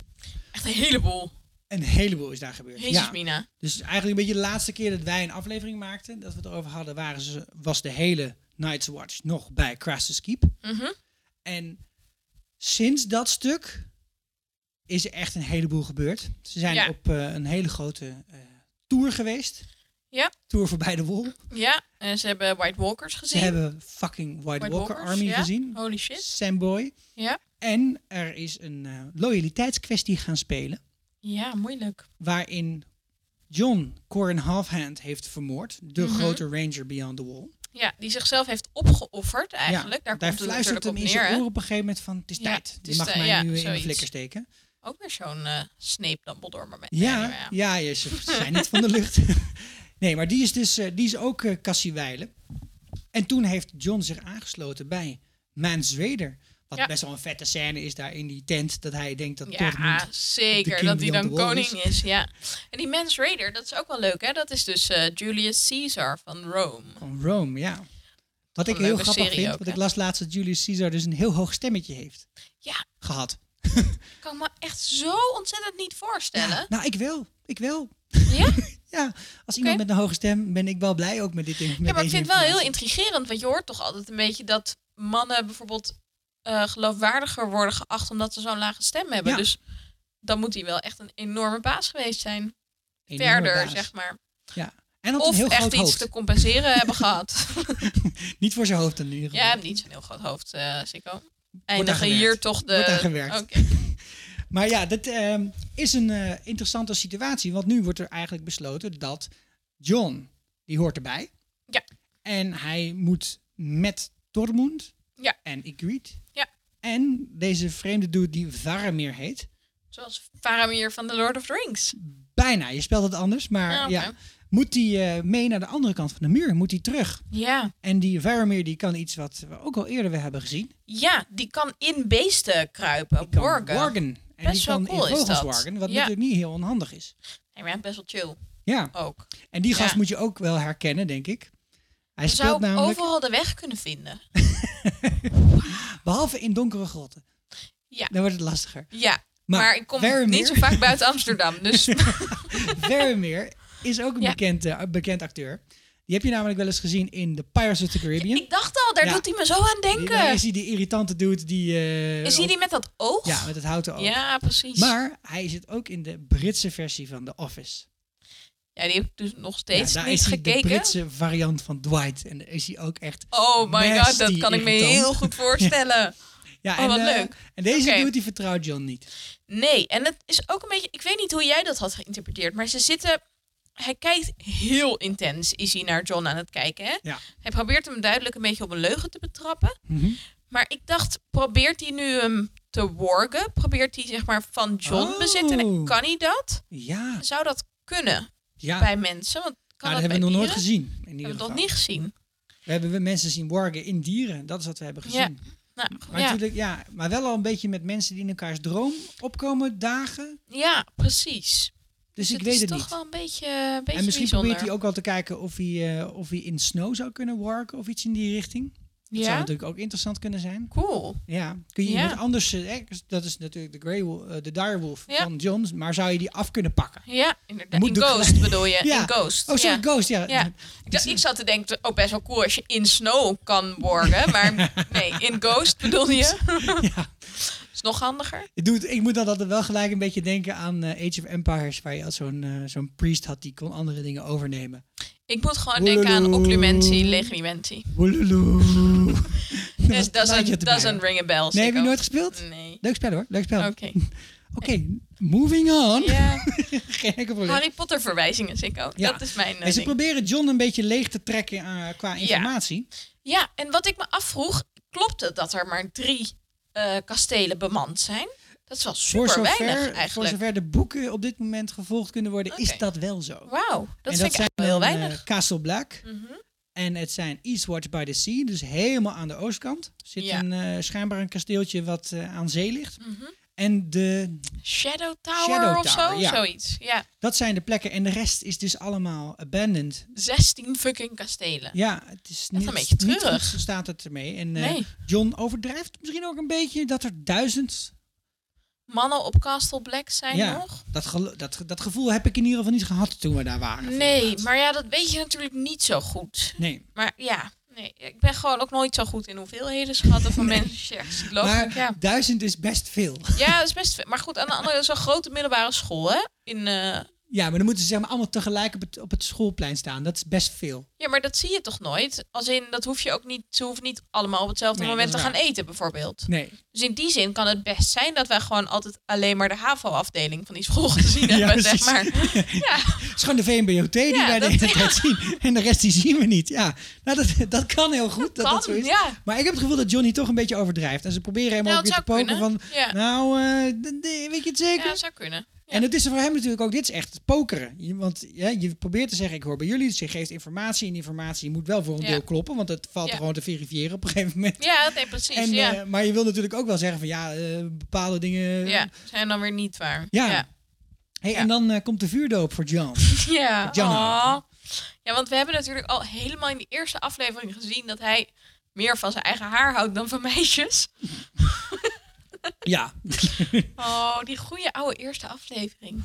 Echt een heleboel.
Een heleboel is daar gebeurd.
Jezus,
ja.
Mina.
Dus eigenlijk een beetje de laatste keer dat wij een aflevering maakten, dat we het erover hadden, waren ze, was de hele Night's Watch nog bij Craster's Keep.
Mhm.
En sinds dat stuk is er echt een heleboel gebeurd. Ze zijn
Ja.
op eh, een hele grote eh, tour geweest.
Ja.
Tour voorbij de wol.
Ja, en ze hebben White Walkers
Ze
gezien.
hebben fucking White,
White
Walker
Walkers,
Army
ja.
gezien.
Holy shit.
Samboy.
Ja.
En er is een eh, loyaliteitskwestie gaan spelen.
Ja, moeilijk.
Waarin John Corin Halfhand heeft vermoord. De
Mhm.
grote ranger Beyond the Wall.
Ja, die zichzelf heeft opgeofferd eigenlijk.
Ja,
Daar, komt het
fluistert
natuurlijk
hem
op
in
neer.
zijn
hè.
oor op een gegeven moment van... Het is
Ja,
tijd.
het
Je
is
mag
tijd,
mij
ja,
nu in de
zoiets.
flikker steken.
Ook weer zo'n eh Snape Dumbledore moment.
Ja,
Anyway,
ja, ja, ze zijn niet van de lucht. [LAUGHS] Nee, maar die is dus eh, die is ook eh Cassie Weilen. En toen heeft John zich aangesloten bij Mans Raider. Wat
Ja.
best wel een vette scène is daar in die tent. Dat hij denkt dat
Ja,
Dortmund...
zeker.
king
Dat hij
die on
dan
the wall
koning is. Ja. En die mens Raider, dat is ook wel leuk, hè? Dat is dus eh, Julius Caesar van Rome.
Van Rome, ja. Wat ik
een
heel
leuke
grappig
serie
vind,
ook,
want
hè?
ik las laatst dat Julius Caesar dus een heel hoog stemmetje heeft
Ja,
gehad.
ik kan me echt zo ontzettend niet voorstellen.
Nou, ik wel. Ik wel.
Ja?
[LAUGHS] Ja, als iemand met een hoge stem ben ik wel blij ook met dit ding.
Ja, maar ik vind het wel heel
dus.
intrigerend, want je hoort toch altijd een beetje dat mannen bijvoorbeeld eh, geloofwaardiger worden geacht omdat ze zo'n lage stem hebben.
Ja.
Dus dan moet hij wel echt een enorme baas geweest zijn.
Enorme
Verder,
baas.
zeg maar.
Ja. En had een
Of
heel
echt
groot
iets
hoofd.
te
[LAUGHS]
compenseren hebben gehad. [LAUGHS]
Niet voor zijn hoofd in ieder geval.
Ja, niet zo'n heel groot hoofd, eh Sikko. Eindigen
gewerkt.
hier toch de...
Wordt aan gewerkt.
Oké.
Maar ja, dat ehm, is een eh, interessante situatie. Want nu wordt er eigenlijk besloten dat John, die hoort erbij.
Ja.
En hij moet met Tormund
Ja.
en Igrit.
Ja.
En deze vreemde dude die Varamir heet.
Zoals Faramir van The Lord of the Rings.
Bijna, je spelt het anders, maar
Ah, oké.
ja. Moet die eh, mee naar de andere kant van de muur? Moet hij terug?
Ja.
En die Varamir die kan iets wat we ook al eerder weer hebben gezien.
Ja, die kan in beesten kruipen.
Kan
Borgen.
wargen. En
Best
die
wel
kan
cool is
in vogels
dat.
wargen, wat
Ja.
natuurlijk niet heel onhandig is.
Nee, maar best wel chill
Ja.
ook.
En die gast
Ja.
moet je ook wel herkennen, denk ik. Hij
zou
speelt
ik
namelijk,
overal de weg kunnen vinden.
behalve in donkere grotten.
Ja.
Dan wordt het
[LAUGHS]
lastiger.
Ja,
Maar
maar, ik kom
Wermeer-
niet zo vaak buiten
[LAUGHS]
Amsterdam. Dus
Vermeer is ook een
Ja.
bekend, eh, bekend acteur. Die heb je namelijk wel eens gezien in The Pirates of the Caribbean.
ik dacht al, daar
Ja.
doet hij me zo aan
Die-
denken.
daar is hij die irritante dude die... eh,
is hij die met dat oog?
Ja, met het houten oog.
Ja, precies.
Maar hij zit ook in de Britse versie van The Office.
ja, die heb ik dus nog steeds
Ja, daar
niet
is hij de
gekeken.
Britse variant van Dwight. En daar is hij ook echt...
Oh my god,
nasty
dat kan ik me
irritant.
heel
[LAUGHS]
goed voorstellen.
Ja,
Oh,
en,
wat
eh,
leuk.
En deze
Oké.
dude die vertrouwt John niet.
Nee, en het is ook een beetje... Ik weet niet hoe jij dat had geïnterpreteerd, maar ze zitten... Hij kijkt heel intens, is hij naar John aan het kijken, hè?
Ja.
Hij probeert hem duidelijk een beetje op een leugen te betrappen.
Mhm.
Maar ik dacht, probeert hij nu hem te worgen? Probeert hij zeg maar van John
Oh.
bezitten? En Kan hij dat?
Ja,
Zou dat kunnen
ja.
bij mensen? Want kan
Nou, dat
dat,
hebben we nog
bij
nooit gezien.
dieren?
In ieder
Hebben we
geval.
dat niet gezien?
We hebben wel mensen zien wargen in dieren. Dat is wat we hebben gezien.
Ja. Nou,
Maar
ja.
natuurlijk, ja, maar wel al een beetje met mensen die in elkaars droom opkomen dagen.
ja, precies.
Dus, ik
het
weet
is
het
toch
niet.
wel een beetje, een beetje
En misschien
bijzonder.
probeert hij ook wel te kijken of hij, eh, of hij in snow zou kunnen warken of iets in die richting. Dat zou
Ja,
natuurlijk ook interessant kunnen zijn.
cool.
Ja, kun je
Ja.
iemand anders, eh, hè, dat is natuurlijk de, Grey Wolf, eh, de direwolf
Ja.
van John, maar zou je die af kunnen pakken?
Ja, inderdaad.
Moet
In
de-
Ghost bedoel je?
Ja.
In Ghost.
Oh, sorry,
ja.
Ghost, ja.
Ja. Ik, dacht- ik zat te denken, oh best wel cool als je in snow kan borgen. Maar
[LAUGHS]
nee, in Ghost bedoel je?
Ja.
Is nog handiger.
Ik, doe het- ik moet dan altijd wel gelijk een beetje denken aan eh, Age of Empires, waar je al zo'n eh, zo'n priest had die kon andere dingen overnemen.
Ik moet gewoon denken aan occlumentie, legrimentie.
Woeloeloe.
[LAUGHS] Dus doesn't, doesn't ring a bell.
Nee, heb je
Sikko.
nooit gespeeld?
Nee.
Leuk spel hoor, leuk spel.
Oké.
Oké, moving on.
Ja,
[LAUGHS] Geen enkel probleem.
Harry Potter verwijzingen, Sikko.
Ja.
Dat is mijn eh,
en ze
ding.
proberen John een beetje leeg te trekken eh, qua informatie.
Ja, en wat ik me afvroeg, klopt het dat er maar drie eh, kastelen bemand zijn? Dat is wel super weinig
voor
eigenlijk.
zover de boeken op dit moment gevolgd kunnen worden, is
Oké.
dat wel zo.
Wauw, dat
en
vind
dat
ik
zijn
eigenlijk wel heel
dan, eh,
weinig. Mhm.
Castle Black. En het zijn Eastwatch by the Sea, dus helemaal aan de oostkant. Zit
Ja. Mhm.
een, eh, schijnbaar een kasteeltje wat eh, aan zee ligt. En de,
Shadow Tower
eh, Shadow
of
Tower,
zo,
ja.
zoiets. Ja,
dat zijn de plekken. En de rest is dus allemaal abandoned.
16 fucking kastelen.
Ja, het is
een
niet,
beetje
niet
treurig.
goed, zo staat het ermee. En eh,
Nee.
John overdrijft misschien ook een beetje dat er duizend...
Mannen op Castle Black zijn
ja,
nog.
Dat, gelo- dat, ge- dat gevoel heb ik in ieder geval niet gehad toen we daar waren. voor het
Nee,
laatst.
maar ja, dat weet je natuurlijk niet zo goed.
Nee.
Maar ja, nee, ik ben gewoon ook nooit zo goed in hoeveelheden
[LAUGHS]
schatten van mensen. Ja, ik geloof
Maar
ik, ja.
duizend is best veel.
ja, dat is best... Maar goed, aan de andere zo'n grote middelbare school, hè? In, eh,
Ja, maar dan moeten ze zeg maar allemaal tegelijk op het, op het schoolplein staan. Dat is best veel.
Ja, maar dat zie je toch nooit? Als in, dat hoef je ook niet, ze hoeven niet allemaal op hetzelfde
Nee,
moment te
dat is
gaan
waar.
eten, bijvoorbeeld.
Nee.
Dus in die zin kan het best zijn dat wij gewoon altijd alleen maar de HAVO-afdeling van die school [LAUGHS] gezien hebben, zeg
precies. [LAUGHS]
maar.
Het is gewoon de VMBOT die
Ja,
wij de
dat-
hele
[LAUGHS]
tijd zien. En de rest die zien we niet. Ja, nou, dat, dat kan heel goed. Dat,
kan,
dat zo is.
ja.
Maar ik heb het gevoel dat Johnny toch een beetje overdrijft. En ze proberen hem
Nou,
ook
het
weer te
zou
poken
kunnen.
van...
Ja.
Nou, eh, d- d- weet je het zeker?
Ja, dat zou kunnen. Ja.
En het is er voor hem natuurlijk ook, dit is echt het pokeren. Je- Want ja, je probeert te zeggen, ik hoor bij jullie, dus je geeft informatie. En die informatie moet wel voor een
Ja.
deel kloppen, want het valt
Ja.
gewoon te verifiëren op een gegeven moment.
Ja, nee, precies.
En,
ja.
eh, maar je wil natuurlijk ook wel zeggen van ja, eh, bepaalde dingen.
ja, zijn dan weer niet waar.
Ja.
ja. [LAUGHS]
Hey,
Ja.
En dan eh, komt de vuurdoop voor John.
Ja,
Janna.
aw. ja, want we hebben natuurlijk al helemaal in de eerste aflevering gezien dat hij meer van zijn eigen haar houdt dan van meisjes.
ja.
Oh, die goede oude eerste aflevering.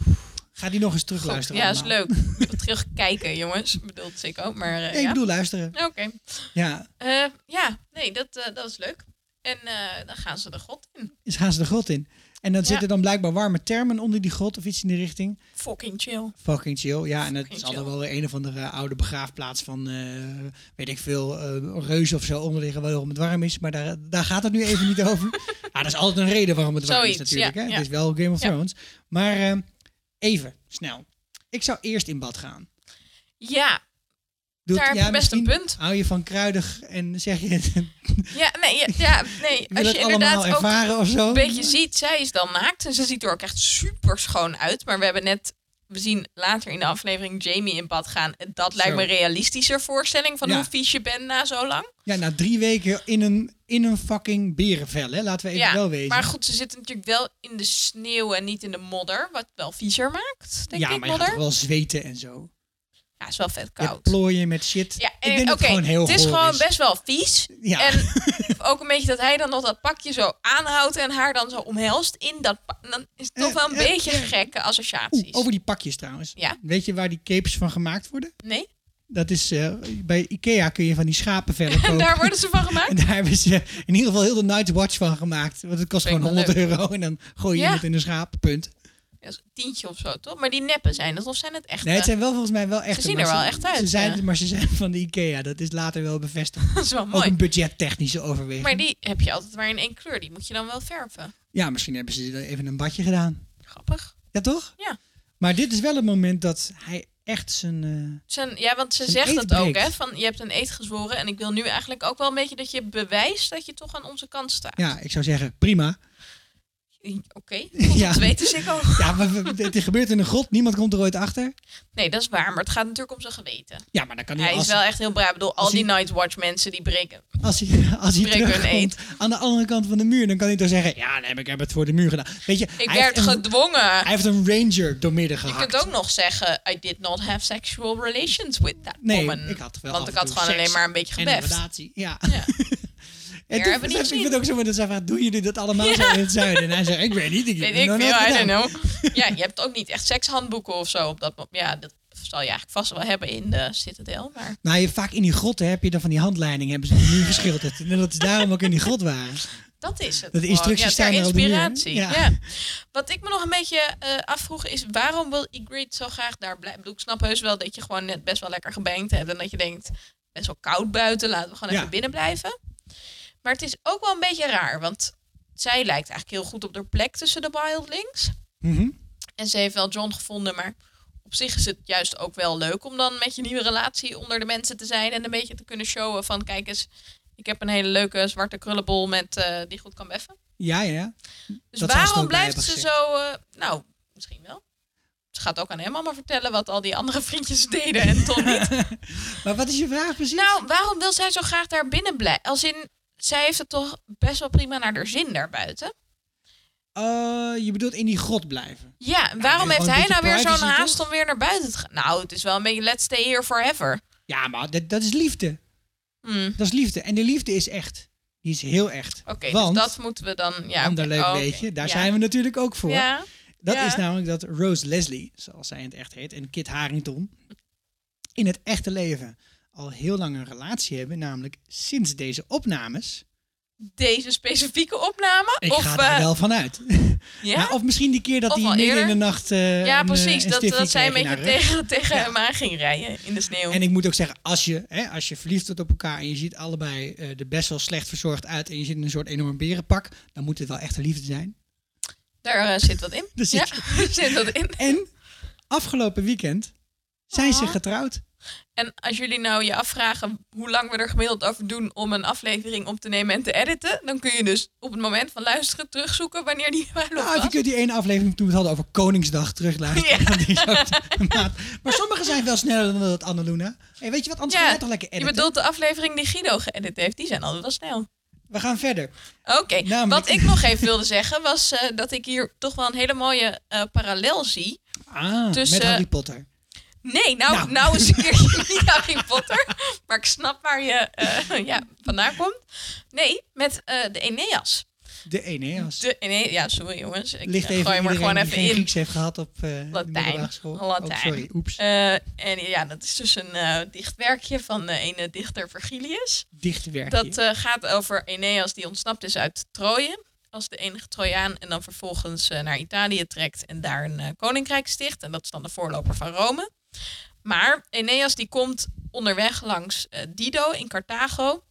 Ga die nog eens
Goed,
terugluisteren.
ja, is
allemaal.
leuk. Terugkijken, jongens. Bedoelt ik ook, maar eh,
Nee, ik
ja.
bedoel luisteren.
Oké.
Ja.
Eh, ja, nee, dat, eh, dat is leuk. En eh, dan gaan ze de god in.
Dus gaan ze de grot in. En dan
Ja.
zitten dan blijkbaar warme termen onder die grot of iets in die richting.
Fucking chill.
Fucking chill. Ja, en het
Fucking
is altijd
chill.
wel weer een of andere oude begraafplaats van, eh, weet ik veel, eh reuzen of zo onder liggen waarom het warm is. Maar daar, daar gaat het nu even niet over.
[LAUGHS]
Ah, dat is altijd een reden waarom het warm is
Zoiets,
natuurlijk.
ja,
hè?
ja.
Het is wel Game of
Ja.
Thrones. Maar eh, even, snel. Ik zou eerst in bad gaan.
Ja,
Doet-
Daar heb je best een
misschien
punt.
Hou je van kruidig en zeg je [LAUGHS] het,
ja, nee, ja, ja, nee.
wil
als
het
je
allemaal
inderdaad ook
ervaren of zo?
een beetje ziet, zij is dan naakt en ze ziet er ook echt super schoon uit. Maar we hebben net, we zien later in de aflevering Jamie in bad gaan. En dat lijkt
Zo.
me een realistischer voorstelling van
Ja.
hoe vies je bent na zo lang.
Ja, na drie weken in een, in een fucking berenvel, hè? Laten we even wel wezen.
maar goed, ze zitten natuurlijk wel in de sneeuw en niet in de modder, wat wel viezer maakt, denk
ja,
ik,
maar je gaat
modder.
toch wel zweten en zo.
Ja, is wel vet
Je hebt
koud.
plooien met shit.
Ja,
ik denk
en
dat het
oké,
gewoon heel
het is
goor
gewoon best wel vies.
Ja. [LAUGHS]
En ook een beetje dat hij dan nog dat pakje zo aanhoudt en haar dan zo omhelst in dat pak. Dan is het toch wel een
Eh, eh,
beetje
ja.
gekke
Oeh,
associaties.
over die pakjes trouwens.
Ja.
Weet je waar die capes van gemaakt worden?
Nee? [LAUGHS]
Dat is, eh, bij Ikea kun je van die schapenvellen kopen.
En [LAUGHS] daar worden ze van gemaakt?
En daar hebben ze in ieder geval heel de Night Watch van gemaakt. Want het kost
Vind ik
gewoon
wel
100 euro en dan gooi je
Ja.
het in een schaap, punt.
Ja, zo'n tientje of zo, toch? Maar die neppen zijn het of zijn het echt?
Nee, het zijn wel volgens mij wel echt.
zien er wel echt uit,
Ze zijn,
ja.
Maar ze zijn van de Ikea, dat is later wel
[LAUGHS]
bevestigd.
[LAUGHS] dat is wel
Ook
mooi.
een budgettechnische overweging.
Maar die heb je altijd maar in één kleur. Die moet je dan wel verven.
Ja, misschien hebben ze er even een badje gedaan.
Grappig.
Ja, toch?
Ja.
Maar dit is wel het moment dat hij echt zijn... eh,
Zijn, ja, want ze
Zijn
zegt
eed
dat ook,
breekt.
hè? Van je hebt een eed gezworen. En ik wil nu eigenlijk ook wel een beetje dat je bewijst dat je toch aan onze kant staat.
ja, ik zou zeggen, prima. [LAUGHS]
Oké,
Ja.
dat weet dus ik ook.
Ja, maar we- het gebeurt in een grot. Niemand komt er ooit achter.
Nee, dat is waar. Maar het gaat natuurlijk om zijn geweten.
Ja, maar dan kan hij...
Hij
als,
is wel echt heel braaf. Ik bedoel, al
als
die
hij-
Night Watch mensen die breken.
als hij, als hij
Breek hun
terugkomt
eend.
aan de andere kant van de muur, dan kan hij toch zeggen... Ja, nee, maar ik heb het voor de muur gedaan. Weet je,
Ik
hij,
werd
heeft een,
gedwongen.
hij heeft een ranger doormidden
Je
gehakt.
kunt ook nog zeggen, I did not have sexual relations with that
Nee,
woman.
ik had wel
Want
af
ik
en
had
toe
gewoon
seks
alleen maar een beetje
en
gebeft.
relatie, ja.
Ja.
[LAUGHS] En
hebben we
toen,
niet
besefte [LAUGHS] ik vind het
gezien.
ook zo maar dat zij vraagt, doen jullie dat allemaal zo in het zuiden? En hij zegt, ik weet niet, ik
Weet
heb
ik
nog nooit
veel, I
gedaan.
don't know. [LAUGHS] Ja, je hebt ook niet echt sekshandboeken of zo op dat moment. Ja, dat zal je eigenlijk vast wel hebben in de Citadel. Maar
Nou, je, vaak in die grotten heb je dan van die handleiding, hebben ze nu [LAUGHS] geschilderd. En dat is daarom ook in die grot waren.
dat is het.
Dat de instructies
gewoon.
staan er
ja,
op
ter
de muur, hè?
inspiratie.
Ja.
Ja. Wat ik me nog een beetje eh, afvroeg is, waarom wil Ygritte zo graag daar blijven? Ik bedoel, Ik snap heus wel dat je gewoon net best wel lekker gebangd hebt. En dat je denkt, best wel koud buiten, laten we gewoon
Ja.
even binnen blijven. Maar het is ook wel een beetje raar, want zij lijkt eigenlijk heel goed op haar plek tussen de wildlings.
Mhm.
En ze heeft wel John gevonden, maar op zich is het juist ook wel leuk om dan met je nieuwe relatie onder de mensen te zijn en een beetje te kunnen showen van kijk eens, ik heb een hele leuke zwarte krullenbol met eh, die goed kan beffen.
Ja, ja, ja.
Dus
Dat zou ze er
waarom
ook bij
blijft
hebben
ze zo? eh, nou, misschien wel. Ze gaat ook aan hem allemaal vertellen wat al die andere [LAUGHS] vriendjes deden en toch niet.
Maar wat is je vraag precies?
[LAUGHS] nou, waarom wil zij zo graag daar binnen blijven? Als in, zij heeft het toch best wel prima naar haar zin daarbuiten.
Eh, je bedoelt in die grot blijven.
Ja, en
gewoon
waarom heeft
een
hij
beetje
nou weer zo'n
privacy,
haast
toch?
om weer naar buiten te gaan? Nou, het is wel een beetje let's stay here forever.
Ja, maar dat, dat is liefde.
Hmm.
Dat is liefde. En de liefde is echt. Die is heel echt.
Oké,
Want,
dus dat moeten we dan... Ja,
ander
oké.
leuk
Oh, oké.
weetje, daar
Ja.
zijn we natuurlijk ook voor.
Ja,
Dat
Ja.
is namelijk dat Rose Leslie, zoals zij in het echt heet, en Kit Harington in het echte leven al heel lang een relatie hebben, namelijk sinds deze opnames.
deze specifieke opname.
Ik
of,
ga daar
eh,
wel van uit.
Ja,
[LAUGHS] Nou, of misschien die keer dat
Of
hij
al
midden in de
eerder.
nacht eh,
ja
een,
precies.
eh, een
dat,
stiffie
dat zij een
kreeg in
beetje
haar rug.
tegen, tegen hem aan ging rijden in de sneeuw.
En ik moet ook zeggen, als je, hè, als je verliefd wordt op elkaar en je ziet allebei eh, er best wel slecht verzorgd uit en je zit in een soort enorm berenpak, dan moet het wel echte liefde zijn.
Daar eh, zit wat in.
Daar zit-
ja, [LAUGHS] daar zit wat in.
En afgelopen weekend zijn ze
Aw.
getrouwd.
En als jullie nou je afvragen hoe lang we er gemiddeld over doen om een aflevering op te nemen en te editen, dan kun je dus op het moment van luisteren terugzoeken wanneer die [LAUGHS] bruiloft
Nou, je
was.
kunt die ene aflevering toen we het hadden over Koningsdag terugluisteren.
[LAUGHS] Ja.
Want die is ook de maat. Maar sommige zijn wel sneller dan dat, Annaluna. Hey, weet je wat, anders
Ja,
ga jij toch lekker
Je
editen?
bedoelt de aflevering die Guido geëdit heeft, die zijn altijd wel snel.
We gaan verder.
Oké,
Namelijk-
wat ik nog even wilde zeggen was eh, dat ik hier toch wel een hele mooie eh, parallel zie.
Ah,
Tussen-
met Harry Potter.
Nee, nou,
Nou.
nou. is een keertje [LAUGHS] niet Harry Potter. Maar ik snap waar je eh, [LAUGHS] ja, vandaan komt. Nee, met eh, de Eneas.
De Eneas.
De Eneas, ja, sorry jongens. Ik
Ligt
eh,
even
gooi hem er
iedereen
gewoon
die
even
geen
in.
Grieks heeft gehad op eh, de
Latijn.
middelbare school. Oh,
Latijn.
sorry, oeps.
Eh, en ja, dat is dus een eh, dichtwerkje van de ene dichter Vergilius.
Dichtwerkje.
Dat eh, gaat over Eneas die ontsnapt is uit Troje. Als de enige Trojaan. En dan vervolgens eh, naar Italië trekt. En daar een eh, koninkrijk sticht. En dat is dan de voorloper van Rome. Maar Eneas die komt onderweg langs eh, Dido in Carthago.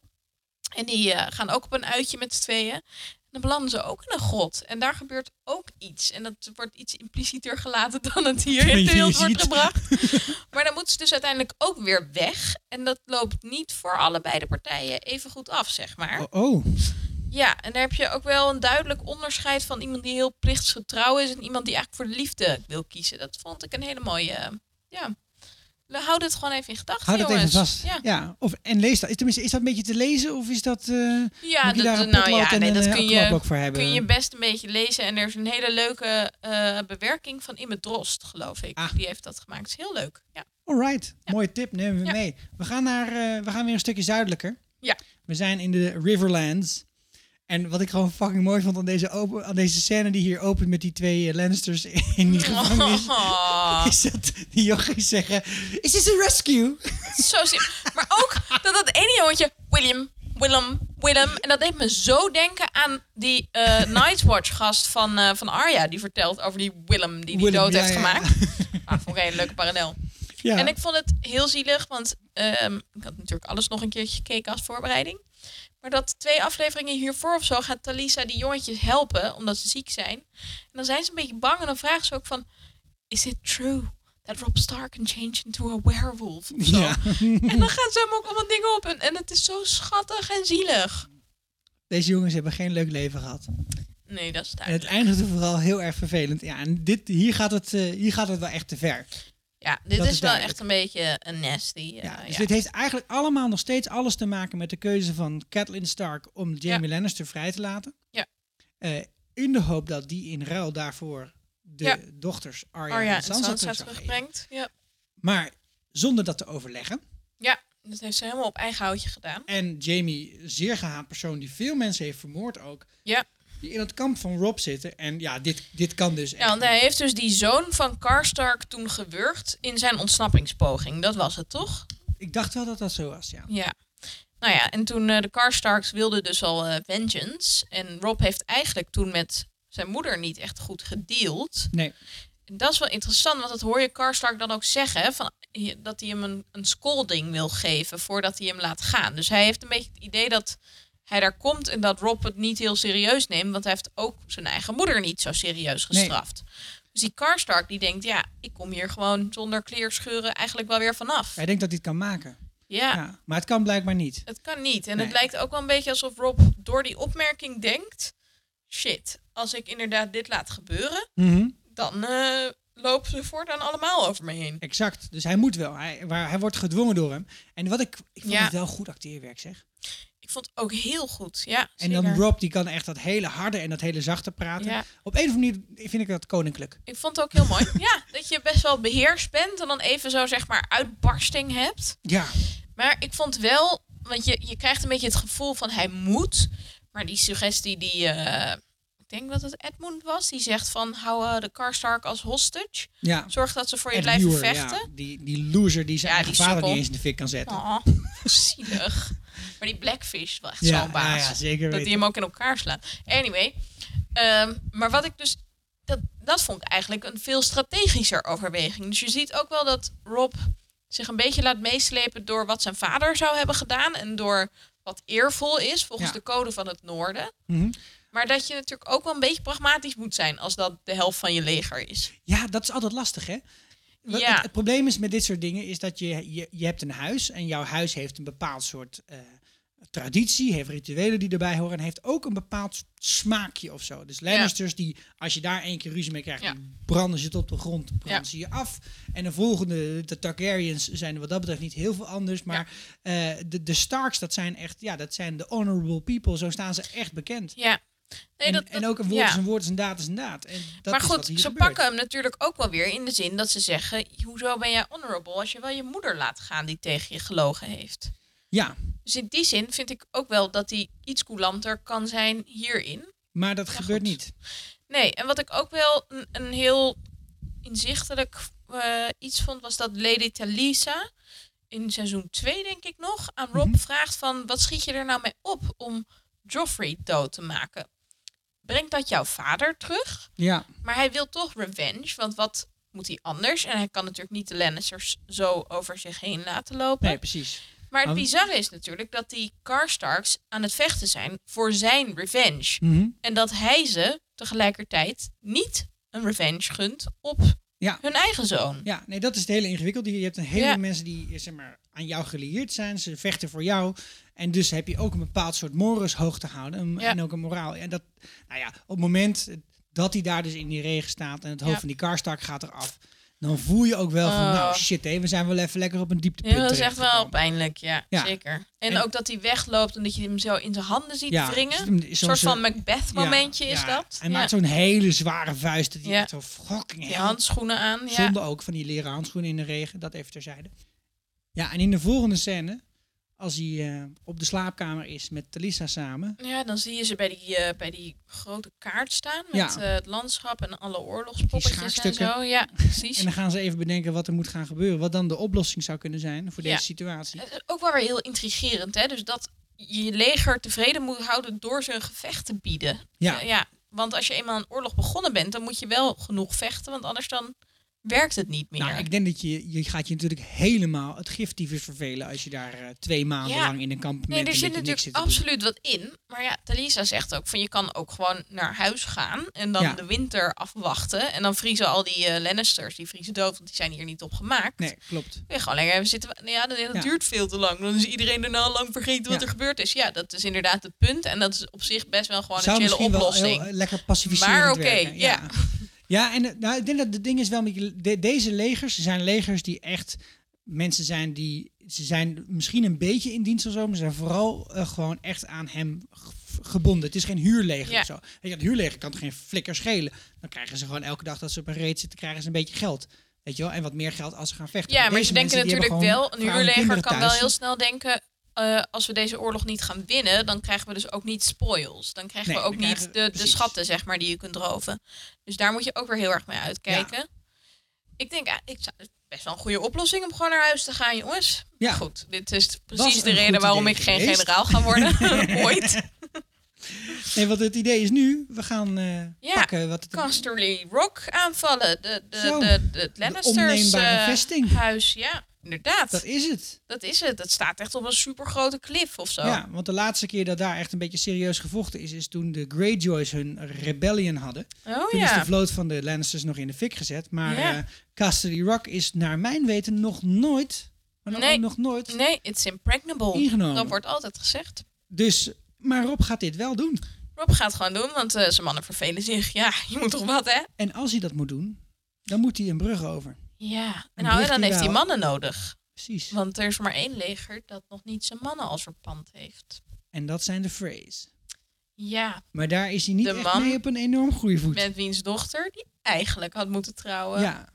En die eh, gaan ook op een uitje met z'n tweeën. En dan belanden ze ook in een grot. En daar gebeurt ook iets. En dat wordt iets implicieter gelaten dan het hier
Dan
in
je
de wereld
hier ziet.
wordt gebracht. Maar dan moeten ze dus uiteindelijk ook weer weg. En dat loopt niet voor allebei de partijen even goed af, zeg maar.
Oh, oh.
Ja, en daar heb je ook wel een duidelijk onderscheid van iemand die heel plichtsgetrouw is en iemand die eigenlijk voor de liefde wil kiezen. Dat vond ik een hele mooie. eh, Ja. Hou dit gewoon even in gedachten.
Houd dat
jongens.
even vast. Ja.
Ja,
Of, en lees dat. Is, tenminste, is dat een beetje te lezen of is dat... eh
ja,
moet je
dat,
daar een
nou
potlood
ja,
en
nee,
een
dat
eh,
kun je,
knopblok voor hebben?
kun je best een beetje lezen. En er is een hele leuke eh, bewerking van Imme Drost, geloof ik.
Ah.
Die heeft dat gemaakt. Is heel leuk. Ja.
[LAUGHS] Oké, Alright, mooie tip. Nemen we mee. We gaan, naar, eh, we gaan weer een stukje zuidelijker.
Ja.
We zijn in de Riverlands. En wat ik gewoon fucking mooi vond aan deze, open, aan deze scène die hier opent met die twee eh, Lannisters
[LAUGHS]
in die gevangenis.
Oh, [LAUGHS]
Is dat die jochies zeggen, is this a rescue?
zo sim- Maar ook dat dat ene jongetje, William, Willem, Willem. En dat deed me zo denken aan die eh Nightwatch gast van, eh, van Arya. Die vertelt over die Willem die die
Willem,
dood
ja,
heeft
ja.
gemaakt.
[LAUGHS]
Ah, vond ik een hele leuke parallel.
Ja.
En ik vond het heel zielig, want ehm, ik had natuurlijk alles nog een keertje gekeken als voorbereiding. Maar dat twee afleveringen hiervoor of zo gaat Talisa die jongetjes helpen omdat ze ziek zijn. En dan zijn ze een beetje bang en dan vragen ze ook van... Is it true that Rob Stark can change into a werewolf? Of zo.
Ja.
En dan gaan ze hem ook allemaal dingen op. En, en het is zo schattig en zielig.
Deze jongens hebben geen leuk leven gehad.
Nee, dat is
En het
duidelijk.
eindigde vooral heel erg vervelend. Ja, en dit, hier, gaat het, eh, hier gaat het wel echt te ver.
Ja, dit
dat
is,
is
wel
duidelijk.
echt een beetje een nasty. eh,
Ja, dus
ja.
dit heeft eigenlijk allemaal nog steeds alles te maken met de keuze van Catelyn Stark om Jamie Lannister vrij te laten.
Ja.
Eh, in de hoop dat die in ruil daarvoor de
Ja.
dochters Arya
Arya
en
en
Sansa,
Sansa
terug zou geven.
terugbrengt. Ja.
Maar zonder dat te overleggen.
ja, dat heeft ze helemaal op eigen houtje gedaan.
En Jamie, zeer gehaat persoon die veel mensen heeft vermoord ook.
Ja.
Die in het kamp van Rob zitten. En ja, dit, dit kan dus
Ja,
echt.
want hij heeft dus die zoon van Karstark toen gewurgd in zijn ontsnappingspoging. Dat was het toch?
Ik dacht wel dat dat zo was, ja.
Ja. Nou ja, en toen eh, de Karstarks wilden dus al eh, vengeance. En Rob heeft eigenlijk toen met zijn moeder niet echt goed gedeeld.
Nee.
En dat is wel interessant, want dat hoor je Karstark dan ook zeggen. hè, Van, eh, dat hij hem een, een scolding wil geven voordat hij hem laat gaan. Dus hij heeft een beetje het idee dat hij daar komt en dat Rob het niet heel serieus neemt. Want hij heeft ook zijn eigen moeder niet zo serieus
Nee.
gestraft. Dus die Karstark die denkt, ja, ik kom hier gewoon zonder kleerscheuren eigenlijk wel weer vanaf.
Hij denkt dat hij het kan maken.
Ja.
Ja, maar het kan blijkbaar niet.
Het kan niet. En
Nee.
het lijkt ook wel een beetje alsof Rob door die opmerking denkt: shit, als ik inderdaad dit laat gebeuren,
Mhm.
dan eh, lopen ze voortaan allemaal over me heen.
Exact. Dus hij moet wel. Hij, waar, hij wordt gedwongen door hem. En wat ik... Ik vond
Ja.
het wel goed acteerwerk, zeg.
Ik vond het ook heel goed. Ja,
En dan
zeker.
Rob, die kan echt dat hele harde en dat hele zachte praten.
Ja.
Op een of andere manier vind ik dat koninklijk.
Ik vond het ook heel mooi. ja, [LAUGHS] dat je best wel beheerst bent en dan even zo zeg maar uitbarsting hebt.
Ja.
Maar ik vond wel, want je, je krijgt een beetje het gevoel van hij moet. Maar die suggestie die, eh, ik denk dat het Edmund was, die zegt van hou eh, de Karstark als hostage.
Ja.
Zorg dat ze voor je
Ed
blijven
Muir,
vechten.
Ja. Die, die loser die zijn
Ja,
eigen
die
vader
sukkel.
niet eens in de fik kan zetten.
Oh, [LAUGHS] zielig. Maar die Blackfish was echt
Ja,
zo'n baas.
ja, ja, zeker
dat
weten.
die hem ook in elkaar slaat. Anyway. ehm, maar wat ik dus... Dat, dat vond ik eigenlijk een veel strategischer overweging. Dus je ziet ook wel dat Rob zich een beetje laat meeslepen... door wat zijn vader zou hebben gedaan... en door wat eervol is volgens
Ja.
de code van het noorden.
Mhm.
Maar dat je natuurlijk ook wel een beetje pragmatisch moet zijn... als dat de helft van je leger is.
Ja, dat is altijd lastig, hè? Wat-
Ja.
Het, het probleem is met dit soort dingen is dat je, je, je hebt een huis en jouw huis heeft een bepaald soort eh, traditie, heeft rituelen die erbij horen en heeft ook een bepaald smaakje of zo. Dus Lannisters die, als je daar één keer ruzie mee krijgt,
Ja.
dan branden ze het op de grond, branden
Ja.
ze je af. En de volgende, de Targaryens zijn wat dat betreft niet heel veel anders, maar eh, de, de Starks, dat zijn echt, ja, dat zijn de honorable people, zo staan ze echt bekend.
Ja. Nee,
en,
dat- dat-
en ook een woord
ja.
is een woord is een daad is een daad. En dat
maar
is
goed,
wat hier
ze
gebeurt.
pakken hem natuurlijk ook wel weer in de zin dat ze zeggen: Hoezo ben jij honorable als je wel je moeder laat gaan die tegen je gelogen heeft?
Ja,
Dus in die zin vind ik ook wel dat hij iets coulanter kan zijn hierin.
maar dat gebeurt
goed.
niet.
Nee, en wat ik ook wel een, een heel inzichtelijk eh, iets vond, was dat Lady Talisa in seizoen 2, denk ik nog, aan Rob
Mhm.
vraagt van wat schiet je er nou mee op om Joffrey dood te maken? Brengt dat jouw vader terug?
Ja.
Maar hij wil toch revenge, want wat moet hij anders? En hij kan natuurlijk niet de Lannisters zo over zich heen laten lopen.
Nee, precies.
Maar het
Want-
bizarre is natuurlijk dat die Karstarks aan het vechten zijn voor zijn revenge.
Mhm.
En dat hij ze tegelijkertijd niet een revenge gunt op
Ja.
hun eigen zoon.
Ja, nee, dat is het hele ingewikkelde. Je hebt een heleboel
Ja.
mensen die eh, zeg maar, aan jou gelieerd zijn. Ze vechten voor jou. En dus heb je ook een bepaald soort morus hoog te houden. een-
Ja.
En ook een moraal. En dat, nou ja, op het moment dat hij daar dus in die regen staat en het hoofd
Ja.
van die karstak gaat eraf. dan voel je ook wel van,
Oh.
nou shit, hé, we zijn wel even lekker op een dieptepunt
Ja, dat is echt wel
terechtgekomen.
pijnlijk, ja,
Ja.
zeker. En,
En-
ook dat hij wegloopt en dat je hem zo in zijn handen ziet
Ja, dus
wringen.
het is
Een
soms
soort van
een- Ja,
Macbeth-momentje is
ja.
dat.
Hij
ja.
maakt zo'n hele zware vuist, dat hij
Ja.
echt zo fucking
Die
hell.
handschoenen aan, ja.
Zonde ook van die leren handschoenen in de regen, dat even terzijde. Ja, en in de volgende scène, als hij eh, op de slaapkamer is met Talisa samen,
Ja, dan zie je ze bij die, eh, bij die grote kaart staan met
Ja.
eh, het landschap en alle oorlogspoppetjes en
schaakstukken.
zo. Ja, precies.
[LAUGHS] en dan gaan ze even bedenken wat er moet gaan gebeuren, wat dan de oplossing zou kunnen zijn voor
Ja. Eh,
deze situatie.
Het is ook wel weer heel intrigerend, hè? Dus dat je je leger tevreden moet houden door ze een gevecht te bieden.
Ja.
Eh, ja. Want als je eenmaal een oorlog begonnen bent, dan moet je wel genoeg vechten, want anders dan werkt het niet meer.
Nou, ik denk dat je, je gaat je natuurlijk helemaal het giftyfus vervelen als je daar eh, twee maanden
Ja.
lang in een kamp
Nee, er
bent.
zit
en dat je niks
natuurlijk
zit te doen.
absoluut wat in. Maar ja, Thalisa zegt ook van je kan ook gewoon naar huis gaan en dan
Ja.
de winter afwachten. En dan vriezen al die eh, Lannisters, die vriezen dood, want die zijn hier niet op gemaakt.
Nee, klopt.
Ja, gewoon lekker even zitten. wa- Ja, dat, dat
Ja.
duurt veel te lang. Dan is iedereen daarna al lang vergeten wat
Ja.
er gebeurd is. Ja, dat is inderdaad het punt. En dat is op zich best wel gewoon
Zou
een chille
misschien wel
oplossing.
heel, eh, lekker pacificerend
Maar oké,
werken,
ja.
Ja, en eh, nou, ik denk dat het ding is wel... een beetje- de- deze legers zijn legers die echt mensen zijn die... Ze zijn misschien een beetje in dienst of zo... maar ze zijn vooral eh, gewoon echt aan hem g- gebonden. Het is geen huurleger
Ja.
of zo. Weet je, het huurleger kan het geen flikker schelen. Dan krijgen ze gewoon elke dag dat ze op een reet zitten... krijgen ze een beetje geld. Weet je wel? En wat meer geld als ze gaan vechten.
Ja, maar
deze
ze denken
mensen, die
natuurlijk
hebben gewoon
wel, een
vrouwen en kinderen
huurleger kan wel
thuis.
heel snel denken. eh, als we deze oorlog niet gaan winnen, dan krijgen we dus ook niet spoils. Dan krijgen
Nee,
we ook
we
niet
krijgen-
de, de
precies.
schatten, zeg maar, die je kunt roven. Dus daar moet je ook weer heel erg mee uitkijken. Ik denk, ah, ik zou, het is best wel een goede oplossing om gewoon naar huis te gaan, jongens.
Ja.
Goed, dit is precies de
een
reden
goed
waarom
idee
ik geen
geweest.
generaal ga worden.
[LAUGHS]
[LAUGHS] Ooit.
Nee, want het idee is nu... We gaan eh,
Ja,
pakken wat het...
Casterly Rock aanvallen. De, de,
Zo,
de, de, het Lannisters
onneembare
eh,
vesting.
huis. Ja, inderdaad.
Dat is het.
Dat is het. Dat staat echt op een supergrote klif of zo.
Ja, want de laatste keer dat daar echt een beetje serieus gevochten is, is toen de Greyjoys hun rebellion hadden.
Oh
toen is
ja.
de vloot van de Lannisters nog in de fik gezet. Maar eh
Ja.
Casterly Rock is naar mijn weten nog nooit, maar dan
Nee.
ook nog nooit,
Nee, it's impregnable.
ingenomen.
Dat wordt altijd gezegd.
Dus, maar Rob gaat dit wel doen.
Rob gaat gewoon doen, want eh, zijn mannen vervelen zich. Ja, je moet toch wat, hè?
En als hij dat moet doen, dan moet hij een brug over.
Ja.
Een
Nou, en
brug
dan
die
heeft hij
wel-
mannen nodig.
Precies.
Want er is maar één leger dat nog niet zijn mannen als verpand heeft.
En dat zijn de Freys.
Ja,
Maar daar is hij niet
De
echt
man
mee op een enorm goede voet.
met wiens dochter die eigenlijk had moeten trouwen.
Ja.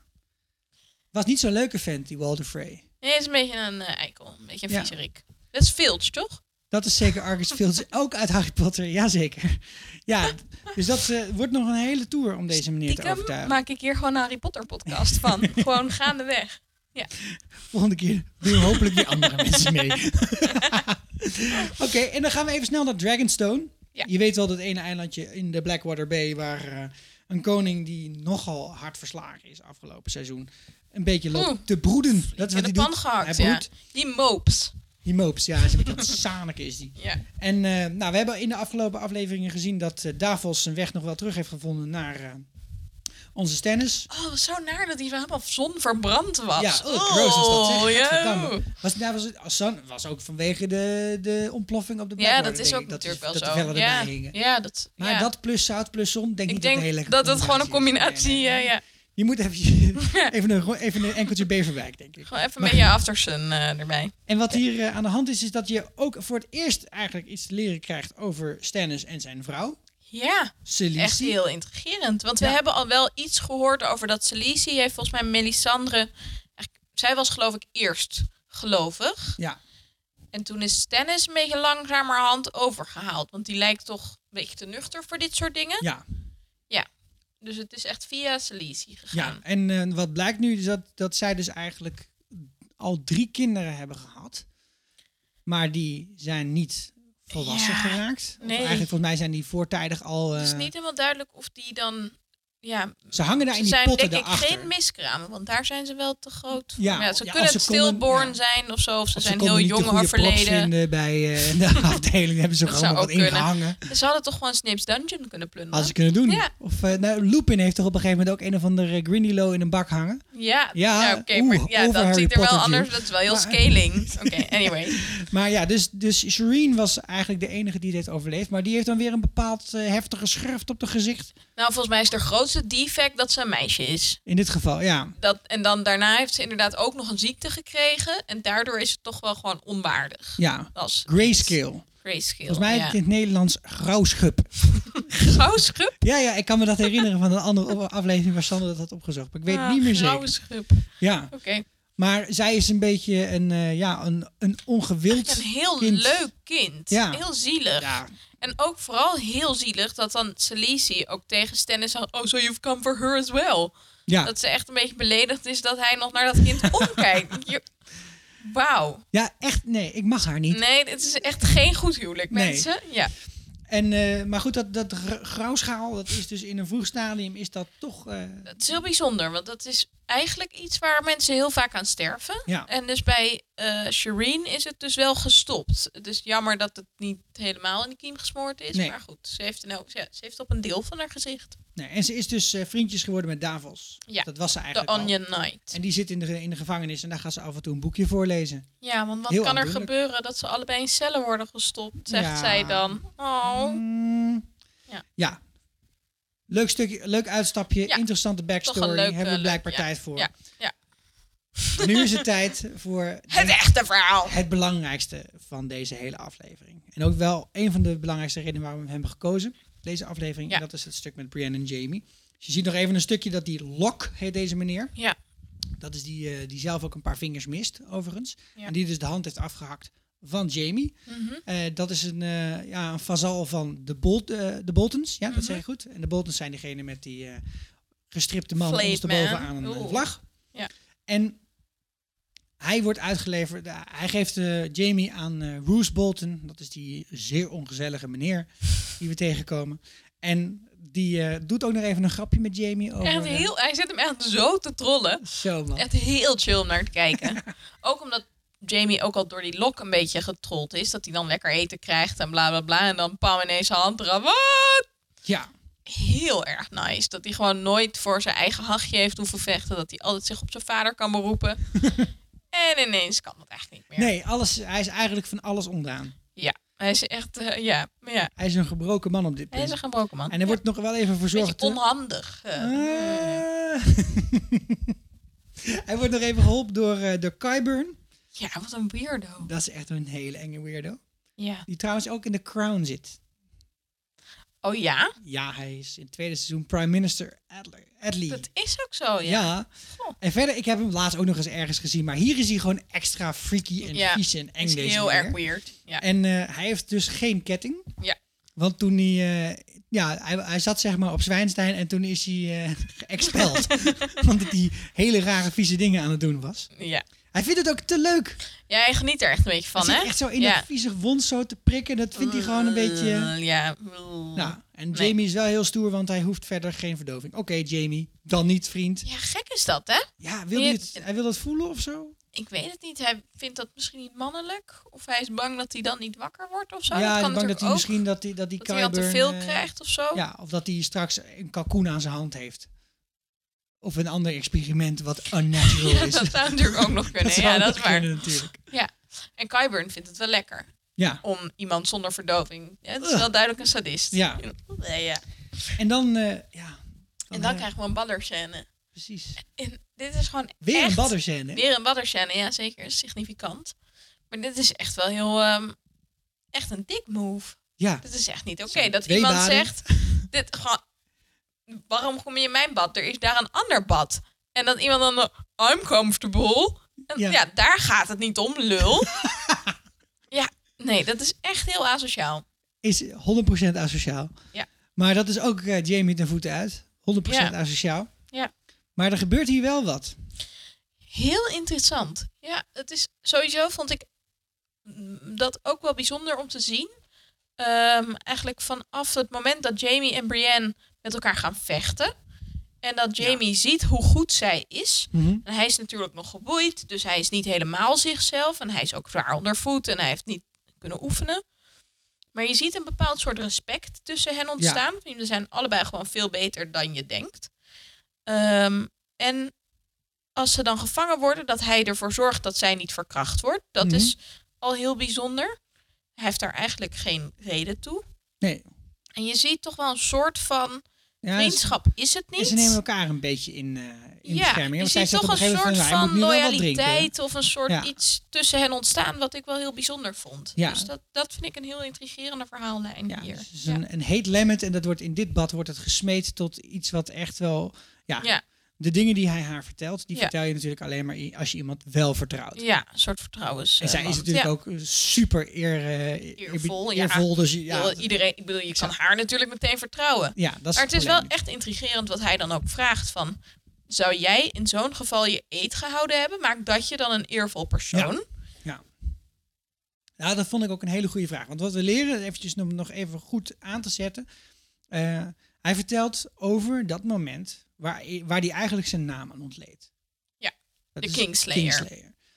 Was niet zo'n leuke vent, die Walter Frey.
Nee, hij is een beetje een eh, eikel. Een beetje een
Ja.
viezerik. Dat is Filch, toch?
Dat is zeker Argus Filch, [LAUGHS] ook uit Harry Potter, jazeker. Ja, dus dat eh, wordt nog een hele tour om deze meneer te
Stiekem
overtuigen.
maak ik hier gewoon een Harry Potter podcast van.
[LAUGHS]
gewoon gaandeweg.
Volgende keer doen we hopelijk weer andere [LAUGHS] mensen mee. Oké, en dan gaan we even snel naar Dragonstone.
Ja.
Je weet wel dat ene eilandje in de Blackwater Bay... waar eh, een koning die nogal hard verslagen is afgelopen seizoen... een beetje loopt
Oeh.
te broeden. Dat is wat
In Mm. de
hij
pan
doet.
gehakt,
hij
ja.
broedt,
Die mopes.
die moops. Ja, hij is een beetje aan het [LAUGHS] zaniken is die.
Ja.
En eh, nou, we hebben in de afgelopen afleveringen gezien dat eh, Davos zijn weg nog wel terug heeft gevonden naar eh, onze Stennis.
Oh, zo naar dat hij zo helemaal zonverbrand was.
Ja, oh, gross was dat zeg.
Ah, Oh, ja.
Gadverdamme. Was, daar was, het, als San- was ook vanwege de, de ontploffing op de
Ja,
Blackwater,
dat is
denk
ook
ik,
natuurlijk
dat
wel
die-
zo.
Dat de vellen
ja.
erbij hingen.
ja, dat.
Maar
ja.
dat plus zout plus zon, denk
ik
niet dat het
denk
hele
dat het gewoon een combinatie. eh,
is. Nee, nee, nee.
ja, ja.
Je moet
[LAUGHS]
even, even, een, ro- even een enkeltje Beverwijk, denk ik.
Gewoon even met je Aftersun eh, erbij.
En wat hier eh, aan de hand is, is dat je ook voor het eerst eigenlijk iets te leren krijgt over Stannis en zijn vrouw.
Ja,
Celici.
echt heel intrigerend. Want
Ja.
we hebben al wel iets gehoord over dat Celici heeft volgens mij Melisandre. eigenlijk- Zij was geloof ik eerst gelovig.
Ja,
En toen is Stennis een beetje langzamerhand overgehaald. Want die lijkt toch een beetje te nuchter voor dit soort dingen.
ja.
Dus het is echt via Celici gegaan.
Ja, en eh, wat blijkt nu is dat, dat zij dus eigenlijk al drie kinderen hebben gehad. Maar die zijn niet volwassen
Ja,
geraakt. Of
nee.
eigenlijk volgens mij zijn die voortijdig al... eh,
Het is niet helemaal duidelijk of die dan. Ja,
Ze hangen daar
ze
in die
zijn
potten
denk ik
daarachter.
geen miskramen, want daar zijn ze wel te groot. voor.
Ja,
Ja, ze
ja,
kunnen
als ze
het stillborn
konden-
zijn of zo, of ze
Of
zijn
konden
heel
niet de
jong
goede
haar
props
verleden.
vinden bij eh,
[LAUGHS]
de afdeling. hebben ze
Dat
gewoon
zou
wat
ook kunnen.
ingehangen.
Ze hadden toch gewoon Snape's Dungeon kunnen plunderen?
Als ze kunnen doen.
Ja.
Of eh, nou, Lupin heeft toch op een gegeven moment ook een of andere Grindylow in een bak hangen.
Ja,
Ja,
ja oké,
oeh,
maar ja,
over
dat
Harry
ziet er wel
Potter
anders.
juice.
Dat is wel heel
Maar-
scaling.
[LAUGHS]
Oké, anyway.
Maar ja, dus, dus Shireen was eigenlijk de enige die dit heeft overleefd. Maar die heeft dan weer een bepaald eh, heftige schurft op haar gezicht.
Nou, volgens mij is de grootste defect dat ze een meisje is.
In dit geval, ja.
Dat, en dan daarna heeft ze inderdaad ook nog een ziekte gekregen. En daardoor is ze toch wel gewoon onwaardig.
ja.
Dat is
Grayscale.
grayscale.
Volgens mij
ja.
in het Nederlands grauwschub.
Grauw schub?
Ja, ja, ik kan me dat herinneren van een andere op- aflevering waar Sander dat had opgezocht. Maar ik weet het
Ah,
niet meer
grauwe
zeker.
schub.
Ja,
Oké.
maar zij is een beetje een, eh, ja, een, een ongewild
Een heel
kind.
leuk kind.
Ja.
Heel zielig.
Ja,
En ook vooral heel zielig dat dan Celisi ook tegen Stennis zegt... Oh, so you've come for her as well.
ja.
Dat ze echt een beetje beledigd is dat hij nog naar dat
[LAUGHS]
kind omkijkt. Je- Wauw.
ja, echt, nee, ik mag haar niet.
Nee, dit is echt geen goed huwelijk,
Nee.
mensen. Ja.
En, eh, maar goed, dat, dat gr- grauwschaal, dat is dus in een vroeg stadium, is dat toch... eh,
Het is heel bijzonder, want dat is eigenlijk iets waar mensen heel vaak aan sterven.
ja,
En dus bij eh Shireen is het dus wel gestopt. Het is jammer dat het niet helemaal in de kiem gesmoord is.
Nee.
Maar goed, ze heeft, nou, ze, ze heeft op een deel van haar gezicht.
nee, en ze is dus eh, vriendjes geworden met Davos.
Ja,
Dat was ze
The
eigenlijk al.
Onion Knight.
En die zit in de, in de gevangenis en daar gaat ze af en toe een boekje voorlezen.
Ja, want wat
Heel
kan er
aandoenlijk.
gebeuren dat ze allebei in cellen worden gestopt, zegt
Ja.
zij dan. Oh,
Mm.
Ja.
Leuk stukje, leuk uitstapje,
Ja.
interessante backstory.
Toch een leuk,
Hebben we
eh,
blijkbaar
leuk, ja.
tijd voor.
Ja. Ja.
Nu is het tijd voor denk
[LAUGHS] het
ik,
echte verhaal.
het belangrijkste van deze hele aflevering. En ook wel een van de belangrijkste redenen waarom we hem hebben gekozen. Deze aflevering,
Ja.
en dat is het stuk met Brian en Jamie. Dus je ziet nog even een stukje dat die Lok heet deze meneer.
Ja.
Dat is die, eh, die zelf ook een paar vingers mist, overigens.
Ja.
En die dus de hand heeft afgehakt van Jamie.
Mhm.
Eh, dat is een, eh ja, een fazal van de, Bol eh, de Boltons. Ja, dat
Mhm.
zeg ik goed. En de Boltons zijn degene met die eh, gestripte man
Flayed
ondersteboven
man.
aan een eh,
Oeh.
vlag.
Ja.
En hij wordt uitgeleverd. eh, hij geeft eh, Jamie aan eh Roose Bolton. Dat is die zeer ongezellige meneer die we tegenkomen. En die eh, doet ook nog even een grapje met Jamie over...
Echt
eh,
heel, hij zit hem echt zo te trollen.
Zo man.
Echt heel chill om naar te kijken. [LAUGHS] ook omdat Jamie ook al door die lok een beetje getrold is. Dat hij dan lekker eten krijgt en bla bla bla. En dan pam ineens zijn hand eraf. Wat?
Ja.
Heel erg nice. Dat hij gewoon nooit voor zijn eigen hachje heeft hoeven vechten. Dat hij altijd zich op zijn vader kan beroepen. [LAUGHS] en ineens kan dat echt niet meer.
Nee, alles, hij is eigenlijk van alles ondaan.
Ja, hij is echt, eh, ja, maar ja.
Hij is een gebroken man op dit
Hij
punt.
is een gebroken man.
En er wordt nog wel even
Ja, een beetje
verzorgd. Ah.
onhandig. eh.
Eh. [LAUGHS] Hij wordt nog even geholpen door, eh door Kyburn.
ja, wat een weirdo.
Dat is echt een hele enge weirdo.
Ja.
Die trouwens ook in The Crown zit.
Oh ja?
Ja, hij is in het tweede seizoen Prime Minister Adler, Adley.
Dat is ook zo,
ja.
ja. Goh.
En verder, ik heb hem laatst ook nog eens ergens gezien. Maar hier is hij gewoon extra freaky en
Ja,
vies en eng.
is
deze
heel
meneer.
erg weird. Ja.
En eh, hij heeft dus geen ketting.
Ja.
Want toen hij, eh, ja, hij, hij zat zeg maar op Zwijnstein en toen is hij eh, [LAUGHS] geëxpeld.
[LAUGHS]
Want hij hele rare vieze dingen aan het doen was.
ja.
Hij vindt het ook te leuk.
Ja, hij geniet er echt een beetje van,
hij
hè?
zit echt zo in
ja.
dat vieze wond zo te prikken. Dat vindt hij gewoon een beetje...
Mm, Ja.
Nou, en
Nee.
Jamie is wel heel stoer, want hij hoeft verder geen verdoving. Oké, Jamie, dan niet, vriend.
Ja, gek is dat, hè?
Ja, wil hij,
Je-
het, hij wil dat voelen of zo?
Ik weet het niet. Hij vindt dat misschien niet mannelijk. Of hij is bang dat hij dan niet wakker wordt of zo.
ja,
dat
hij
kan
is bang dat
natuurlijk
hij
ook.
misschien dat die, dat die
dat hij al te
Qyburn,
veel
eh,
krijgt of zo.
Ja, of dat hij straks een kalkoen aan zijn hand heeft. Of een ander experiment wat unnatural
[LAUGHS] [LAUGHS] Ja,
is.
dat zou natuurlijk
[LAUGHS]
ook nog kunnen.
zou
ja,
ook
dat is waar.
kunnen natuurlijk.
En Kyburn vindt het wel lekker
Ja,
om iemand zonder verdoving. Ja, het is
Ugh.
wel duidelijk een sadist.
Ja.
Ja, ja.
en dan... eh, ja,
En dan
eh,
krijgen we een badderscène.
Precies.
En dit is gewoon
Weer
echt
een badderscène. hè?
Weer een badderscène, ja zeker. Significant. Maar dit is echt wel heel... ehm, echt een dik move.
Ja,
Dat is echt niet oké.
Zijn
Dat
twee
iemand
baden.
zegt, dit, gewoon, waarom kom je in mijn bad? Er is daar een ander bad. En dan iemand dan, eh, I'm comfortable. En
Ja.
ja. daar gaat het niet om, lul. [LAUGHS] ja, nee, dat is echt heel asociaal.
is 100% asociaal.
Ja.
Maar dat is ook eh, Jamie ten voeten uit. 100%
Ja.
asociaal.
Ja.
Maar er gebeurt hier wel wat.
Heel interessant. Ja, het is sowieso vond ik mm, dat ook wel bijzonder om te zien. Ehm, eigenlijk vanaf het moment dat Jamie en Brienne met elkaar gaan vechten. En dat Jamie ziet hoe goed zij is. En hij is natuurlijk nog geboeid, dus hij is niet helemaal zichzelf. En hij is ook zwaar onder voet en hij heeft niet kunnen oefenen. Maar je ziet een bepaald soort respect tussen hen ontstaan. Ze zijn allebei gewoon veel beter dan je denkt. Ehm, en als ze dan gevangen worden, dat hij ervoor zorgt dat zij niet verkracht wordt. Dat
Mhm.
is al heel bijzonder. Hij heeft daar eigenlijk geen reden toe.
Nee.
En je ziet toch wel een soort van
Ja, ze,
vriendschap is het
en
niet.
ze nemen elkaar een beetje in, eh, in
ja,
bescherming. hè,
je
want zij
ziet
zegt
toch
op
een
gegeven
soort
moment "Nou,
van
hij moet nu wel wat drinken."
loyaliteit of een soort
Ja.
iets tussen hen ontstaan, wat ik wel heel bijzonder vond.
Ja.
Dus dat, dat vind ik een heel intrigerende verhaallijn
Ja,
hier.
dus het is
Ja.
een, een heet lemmet en dat wordt in dit bad wordt het gesmeed tot iets wat echt wel... Ja,
Ja.
de dingen die hij haar vertelt, die
Ja.
vertel je natuurlijk alleen maar i- als je iemand wel vertrouwt.
Ja, een soort vertrouwens.
En zij
eh,
is
want-
natuurlijk
ja.
ook eh, super eer, eh, eer-
Eervol, ja.
eervol, dus je-
Ik
ja,
bedoel, Iedereen, ik bedoel, je kan haar natuurlijk meteen vertrouwen.
ja, dat is
Maar het is wel
probleem.
echt intrigerend wat hij dan ook vraagt van... Zou jij in zo'n geval je eet gehouden hebben? Maakt dat je dan een eervol persoon?
Ja, dat vond ik ook een hele goede vraag. Want wat we leren, eventjes om nog even goed aan te zetten. eh, hij vertelt over dat moment waar, waar hij eigenlijk zijn naam aan ontleed.
Ja,
Dat
de
is
Kingslayer.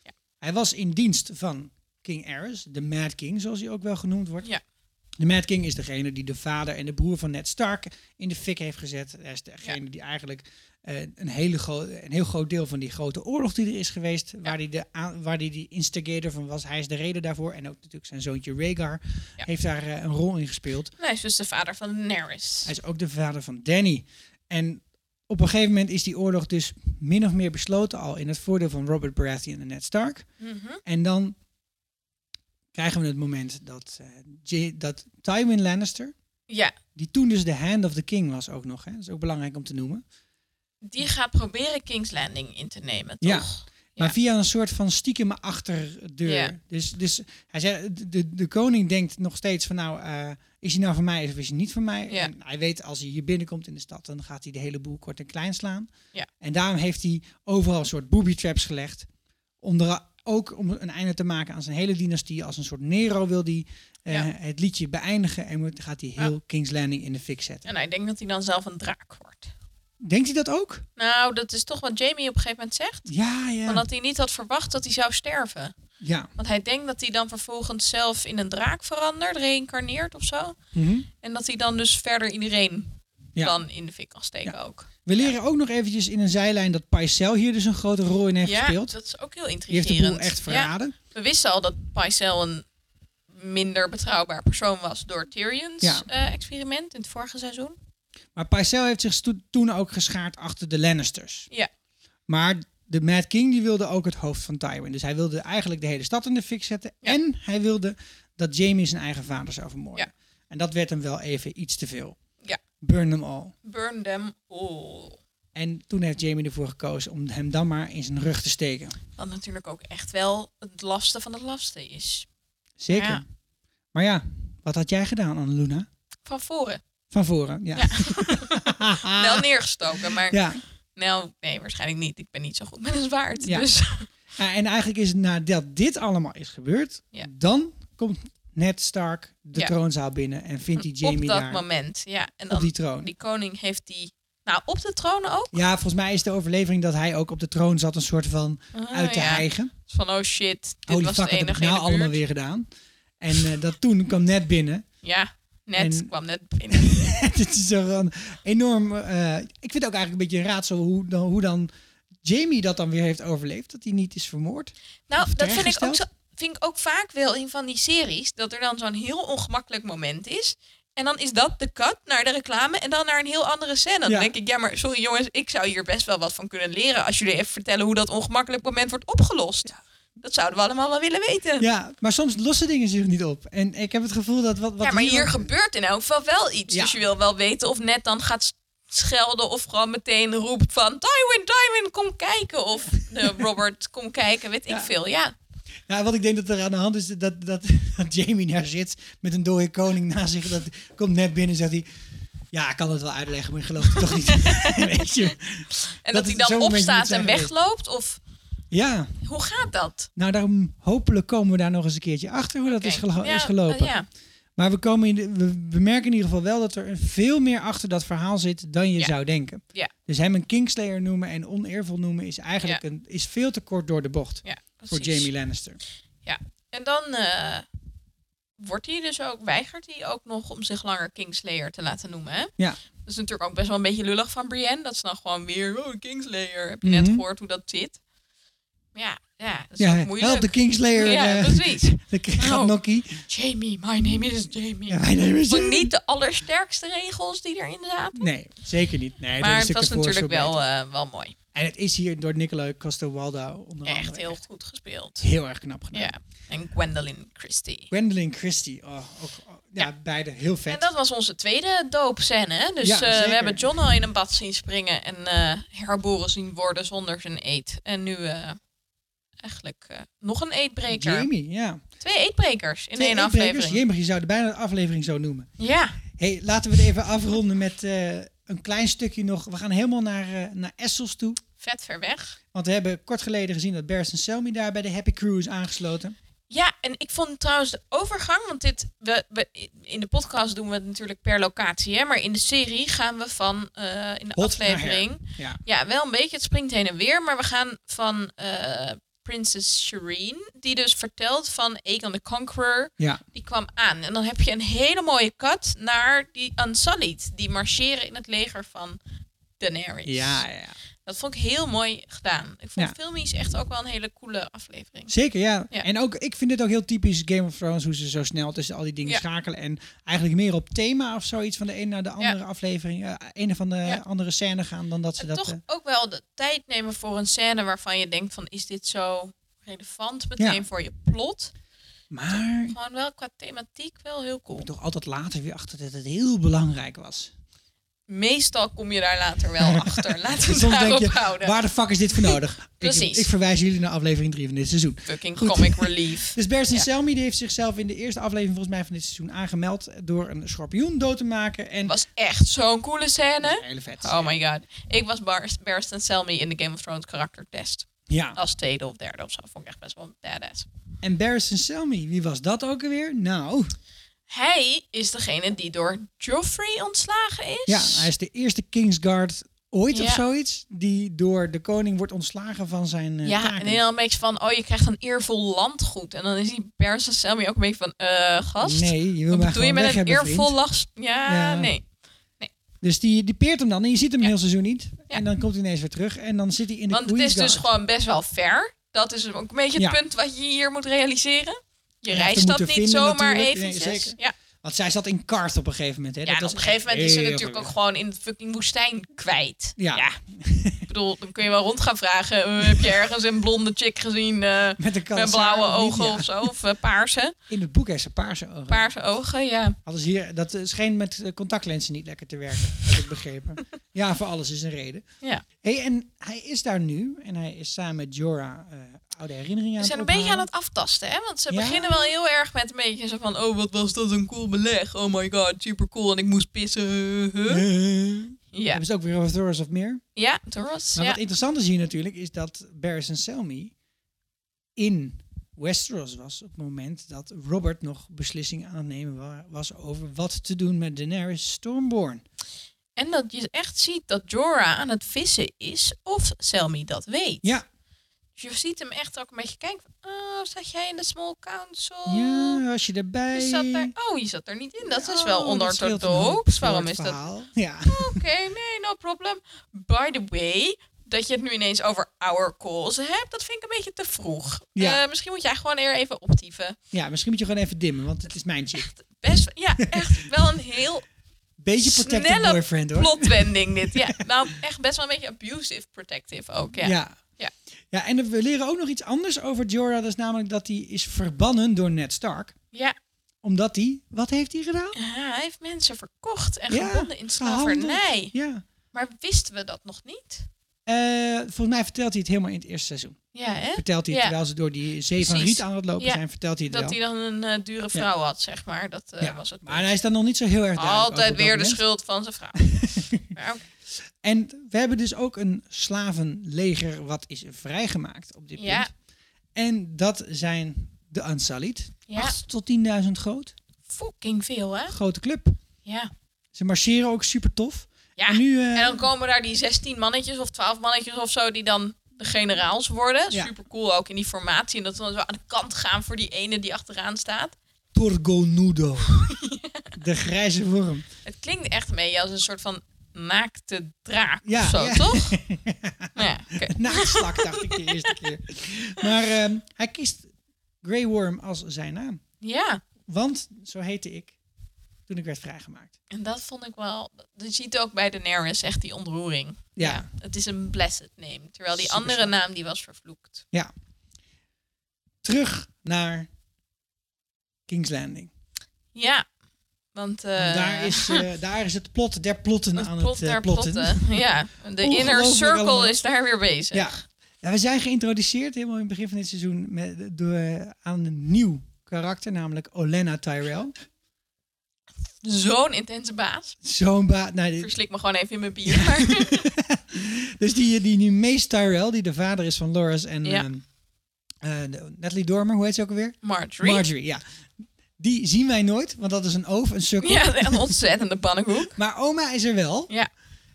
Ja.
Hij was in dienst van King Ares, de Mad King, zoals hij ook wel genoemd wordt.
Ja.
De Mad King is degene die de vader en de broer van Ned Stark in de fik heeft gezet. Hij is degene die eigenlijk eh, een, hele gro- een heel groot deel van die grote oorlog die er is geweest, waar hij de, aan- waar die, die instigator van was. Hij is de reden daarvoor. En ook natuurlijk zijn zoontje Rhaegar
Ja.
heeft daar eh, een rol in gespeeld.
En Hij is dus de vader van Nerys.
Hij is ook de vader van Danny. En op een gegeven moment is die oorlog dus min of meer besloten al in het voordeel van Robert Baratheon en Ned Stark.
Mhm.
En dan krijgen we het moment dat, eh, J- dat Tywin Lannister,
Ja,
die toen dus de Hand of the King was ook nog, hè? dat is ook belangrijk om te noemen.
die gaat proberen King's Landing in te nemen,
Ja.
toch?
Maar
Ja.
via een soort van stiekeme achterdeur.
Ja.
Dus, dus hij zei, de- de, de koning denkt nog steeds van nou, eh, is hij nou van mij of is hij niet van mij?
Ja.
En hij weet als hij hier binnenkomt in de stad, dan gaat hij de hele boel kort en klein slaan.
Ja.
En daarom heeft hij overal een soort booby traps gelegd. Onder, ook om een einde te maken aan zijn hele dynastie. Als een soort Nero wil hij eh,
Ja.
het liedje beëindigen en moet- gaat hij heel King's Landing in de fik zetten.
En hij denkt dat hij dan zelf een draak wordt.
Denkt hij dat ook?
Nou, dat is toch wat Jamie op een gegeven moment zegt.
Ja, ja.
Van dat hij niet had verwacht dat hij zou sterven.
ja.
Want hij denkt dat hij dan vervolgens zelf in een draak verandert, reïncarneert of zo.
Mhm.
En dat hij dan dus verder iedereen
Ja.
dan in de fik kan steken
Ja.
ook.
We leren ook nog eventjes in een zijlijn dat Paisel hier dus een grote rol in heeft
ja,
gespeeld.
dat is ook heel
Die heeft
intrigerend.
de boel echt
Ja,
verraden.
we wisten al dat Pycelle een minder betrouwbaar persoon was door Tyrion's
Ja.
eh, experiment in het vorige seizoen.
Maar Paisel heeft zich sto- toen ook geschaard achter de Lannisters.
Ja.
Maar de Mad King die wilde ook het hoofd van Tywin. Dus hij wilde eigenlijk de hele stad in de fik zetten.
Ja.
En hij wilde dat Jamie zijn eigen vader zou vermoorden.
Ja.
En dat werd hem wel even iets te veel.
Ja.
Burn them all.
Burn them all.
En toen heeft Jamie ervoor gekozen om hem dan maar in zijn rug te steken.
Wat natuurlijk ook echt wel het lafste van het lafste is.
Zeker.
Ja.
Maar ja, wat had jij gedaan, Annaluna?
Van voren.
Van voren, ja.
Wel neergestoken, maar
Ah. ja.
nou, nee, waarschijnlijk niet. Ik ben niet zo goed met een zwaard.
Ja.
Dus
Ja, Ah, en eigenlijk is het nadat dit allemaal is gebeurd,
Ja.
dan komt Ned Stark de
Ja.
troonzaal binnen en vindt die Jamie
[LAUGHS] op dat
daar
moment, ja. En
op
dan
die
die,
troon.
koning heeft die, nou, op de troon ook.
Ja, volgens mij is de overlevering dat hij ook op de troon zat, een soort van
Ah,
uit te
ja.
hijgen.
Van oh shit, dit
Holy
was
fuck, wat
het
heb ik
enige in
nou
de buurt.
allemaal weer gedaan? En eh, dat toen kwam Ned binnen. [LAUGHS]
Ja, net
En-
kwam net binnen.
Het is zo een enorm... eh, ik vind het ook eigenlijk een beetje een raadsel hoe dan, hoe dan Jamie dat dan weer heeft overleefd. Dat hij niet is vermoord.
nou, dat vind ik ook
terechtgesteld?
zo, vind ik ook vaak wel in van die series dat er dan zo'n heel ongemakkelijk moment is. En dan is dat de cut naar de reclame en dan naar een heel andere scène. Dan
Ja.
denk ik, ja, maar sorry jongens, ik zou hier best wel wat van kunnen leren als jullie even vertellen hoe dat ongemakkelijk moment wordt opgelost. Dat zouden we allemaal wel willen weten.
Ja, maar soms lossen dingen zich niet op. En ik heb het gevoel dat wat, wat
ja, maar hier
ook-
gebeurt in elk geval wel iets.
Ja.
Dus je wil wel weten of net dan gaat s- schelden of gewoon meteen roept van Tywin, Tywin, kom kijken. Of
[LAUGHS]
eh, Robert, kom kijken, weet
Ja.
ik veel. Ja,
Ja, wat ik denk dat er aan de hand is, dat, dat, [LAUGHS] dat Jamie daar zit met een dode koning naast zich. Dat komt net binnen en zegt hij... Ja, ik kan het wel uitleggen, maar ik geloof het toch niet.
[LAUGHS]
Weet je?
en
Dat
dat,
is
hij
zo'n beetje
dan opstaat
moet
en
zijn geweest.
wegloopt. Of
Ja,
hoe gaat dat?
nou daarom hopelijk komen we daar nog eens een keertje achter hoe dat is,
Oké.
gelo-
Ja, eh,
is gelopen.
ja.
Maar we, komen in de- we, we merken in ieder geval wel dat er veel meer achter dat verhaal zit dan je
Ja.
zou denken.
Ja.
Dus hem een Kingslayer noemen en oneervol noemen is eigenlijk een, is veel te kort door de bocht
Ja,
voor
precies.
Jamie Lannister.
En dan eh, wordt hij dus ook, weigert hij ook nog om zich langer Kingslayer te laten noemen. Hè?
Ja.
is natuurlijk ook best wel een beetje lullig van Brienne. Dat is dan gewoon weer, oh, Kingslayer. Heb je
Mhm.
net gehoord hoe dat zit? Maar Ja, ja, dat is
Ja,
ook moeilijk.
help de Kingslayer.
Ja,
eh,
precies.
[LAUGHS]
Oh.
De gaat Nokkie.
Jamie, my name is Jamie.
Ja, mijn name is [LAUGHS]
Vond
Jamie.
niet de allersterkste regels die erin zaten.
Nee, zeker niet. Nee, dat
maar
is
het was
ervoor
natuurlijk
zo
wel,
beter.
eh, wel mooi.
En het is hier door Nicola Costo Waldau onder
Echt
andere
heel goed gespeeld.
heel erg knap gedaan.
Ja. En Gwendolyn Christie.
Gwendolyn Christie. Oh, ook, oh, ja, beide heel vet.
En dat was onze tweede doopscène. hè? Dus
Ja,
eh,
zeker.
we hebben John al in een bad zien springen en eh, herboren zien worden zonder zijn eet. En nu eh, eigenlijk eh, nog een eetbreker.
Jamie, ja.
Twee eetbrekers in
Twee
één
inbrekers.
aflevering.
Jemig, je zou de bijna de aflevering zo noemen.
Ja,
hey, laten we het even afronden met eh, een klein stukje nog. We gaan helemaal naar, eh, naar Essos toe.
vet ver weg.
Want we hebben kort geleden gezien dat Barris en Selmy daar bij de Happy Crew is aangesloten.
Ja, en ik vond trouwens de overgang, want dit, we, we, in de podcast doen we het natuurlijk per locatie, hè, maar in de serie gaan we van, eh, in de
Hot naar her.
aflevering,
Ja.
Ja, wel een beetje. Het springt heen en weer. Maar we gaan van eh, Princess Shireen, die dus vertelt van Aegon the Conqueror.
Ja.
Die kwam aan. En dan heb je een hele mooie kat naar die Unsullied. Die marcheren in het leger van Daenerys.
Ja, ja.
Dat vond ik heel mooi gedaan. Ik vond
Ja.
filmisch echt ook wel een hele coole aflevering.
Zeker, ja.
Ja.
En ook, ik vind dit ook heel typisch Game of Thrones, hoe ze zo snel tussen al die dingen
Ja.
schakelen. En eigenlijk meer op thema of zoiets van de een naar de andere aflevering, eh, een of andere,
Ja.
andere scène gaan dan dat ze
En
dat...
toch
eh,
ook wel de tijd nemen voor een scène waarvan je denkt van is dit zo relevant meteen
Ja.
voor je plot.
maar ik
Gewoon wel qua thematiek wel heel cool.
kom toch altijd later weer achter dat het heel belangrijk
[LAUGHS]
was.
meestal kom je daar later
[LAUGHS]
wel achter. Laten we
Soms
het
denk
daarop
je,
houden.
waar de fuck is dit voor nodig? Ik,
Precies.
ik verwijs jullie naar aflevering 3 van dit seizoen.
[LAUGHS] Fucking
Goed.
comic relief.
Dus Bersin
Ja.
Selmy die heeft zichzelf in de eerste aflevering volgens mij van dit seizoen aangemeld door een schorpioen dood te maken. En
Was echt zo'n coole
Dat is
scène.
hele vet.
Oh my god. Ik was Barst en Selmy in de Game of Thrones karaktertest.
Ja.
Als tweede of derde of zo. Vond ik echt best wel badass.
En Barristan Selmy, wie was dat ook alweer? Nou,
Hij is degene die door Joffrey ontslagen is.
ja, hij is de eerste Kingsguard ooit of
Ja.
zoiets die door de koning wordt ontslagen van zijn eh,
Ja,
taken.
en heel een beetje van, oh, je krijgt een eervol landgoed. En dan is die Barst en Selmy ook een beetje van, eh, gast?
Nee, je wil
Wat
maar
bedoel je
gewoon
met
weg
een
hebben,
eervol
vriend.
last? Ja,
Ja.
nee.
Dus die, die peert hem dan en je ziet hem heel seizoen niet.
Ja.
En dan komt hij ineens weer terug en dan zit hij in de
Want het is dus
Queensguard.
gewoon best wel ver. Dat is ook een beetje het
Ja.
punt wat je hier moet realiseren. Je
Ja,
reist
te
dat
moeten
niet
vinden
zomaar
natuurlijk. Nee,
eventjes.
zeker.
ja,
Want zij zat in Karth op een gegeven moment. Hè?
ja en
was
op een gegeven moment is ze
heel
natuurlijk ook
gelukkig.
gewoon in de fucking woestijn kwijt.
Ja.
Ik bedoel, dan kun je wel rond gaan vragen. eh, heb je ergens een blonde chick gezien eh,
Met een
met
kans
blauwe
haar of niet,
ogen
ja.
of zo? Of eh, paarse.
In het boek heeft ze paarse ogen.
Paarse ogen, ja.
Hadden ze hier, dat eh, scheen met eh, contactlenzen niet lekker te werken, [LAUGHS] heb ik begrepen. Ja, voor alles is een reden.
ja.
Hey, en hij is daar nu en hij is samen met Jorah eh, oude herinneringen aan
Ze
het
zijn een beetje aan
ophalen.
het aftasten, hè? Want ze
Ja.
beginnen wel heel erg met een beetje zo van... Oh, wat was dat een cool beleg. Oh my god, super cool. En ik moest pissen. huh, huh.
Eh.
Ja,
Hebben ze het ook weer over Thoros of meer?
ja Doris.
Maar
Ja.
wat interessant is hier natuurlijk, is dat Barris en Selmy in Westeros was op het moment dat Robert nog beslissingen aan het nemen wa- was over wat te doen met Daenerys Stormborn.
En dat je echt ziet dat Jorah aan het vissen is, of Selmy dat weet.
Ja,
Dus je ziet hem echt ook een beetje kijken van, oh, zat jij in de small council?
ja was je erbij?
Je zat daar, oh, je zat er niet in. Dat is wel
Oh, dat scheelt een hoop
onorthodox.
voor
Waarom
het
is dat?
verhaal. Ja.
Oké, nee, no problem. By the way, dat je het nu ineens over our calls hebt, dat vind ik een beetje te vroeg.
Ja.
Eh, misschien moet jij gewoon eer even optieven.
Ja, misschien moet je gewoon even dimmen, want het is mijn chick.
Best, ja, echt wel een heel
Beetje protective
Snelle
boyfriend hoor.
plotwending dit.
[LAUGHS]
Ja, nou, echt best wel een beetje abusive protective ook. Ja.
Ja.
Ja.
Ja, en we leren ook nog iets anders over Jorah. Dat is namelijk dat hij is verbannen door Ned Stark.
ja.
Omdat hij... Wat heeft hij gedaan?
Ja, hij heeft mensen verkocht en
Ja,
gebonden in
gehandeld.
slavernij.
Ja.
Maar wisten we dat nog niet?
Eh, volgens mij vertelt hij het helemaal in het eerste seizoen.
Ja, hè?
Vertelt hij
Ja.
het terwijl ze door die zee van
Precies.
riet aan het lopen
Ja.
zijn. Vertelt hij het
Dat hij
wel.
dan een eh, dure vrouw had, zeg maar. Dat eh,
Ja.
was het.
Maar hij is dan nog niet zo heel erg duidelijk over
Altijd
op dat
weer de
moment.
schuld van zijn vrouw.
[LAUGHS]
Maar ook-
En we hebben dus ook een slavenleger wat is vrijgemaakt op dit
ja,
punt. En dat zijn de Unsullied.
Ja.
8 tot 10.000 groot.
fucking veel, hè?
Grote club.
Ja.
Ze marcheren ook super tof.
ja.
En nu, eh,
En dan komen daar die 16 mannetjes of 12 mannetjes of zo die dan de generaals worden.
Ja.
Super cool ook in die formatie. En dat ze dan zo aan de kant gaan voor die ene die achteraan staat.
Torgonudo. [LAUGHS] De grijze worm.
Het klinkt echt mee als een soort van naakte draak
Ja,
of zo,
ja.
toch?
[LAUGHS]
Nou ja, oké.
Naakslak dacht ik de eerste keer. Maar ehm, hij kiest Grey Worm als zijn naam.
ja,
Want zo heette ik toen ik werd vrijgemaakt.
en dat vond ik wel... Je ziet ook bij Daenerys echt die ontroering.
Ja.
Het is een blessed name. Terwijl die
Super
andere
sterk.
naam, die was vervloekt.
Ja. Terug naar King's Landing.
Ja, want... eh,
Want daar, is,
[LAUGHS]
eh, daar is het plot der plotten
het
aan
plot
het eh,
der
plotten.
plotten. Ja, de inner
Ongelooflijk
circle
allemaal.
is daar weer bezig.
Ja. ja, we zijn geïntroduceerd helemaal in het begin van dit seizoen met, door, eh, aan een nieuw karakter, namelijk Olenna Tyrell.
Zo'n intense baas.
Zo'n baat. Nou, dit-
Verslik me gewoon even in mijn bier. [LAUGHS] Maar
dus die, die nu Mace Tyrell, die de vader is van Loras en
Ja.
ehm, eh, de- Natalie Dormer, hoe heet ze ook alweer?
Marjorie.
Marjorie, ja. Die zien wij nooit, want dat is een oof, een sukkel.
Ja, een ontzettende pannenkoek.
Maar oma is er wel.
Ja.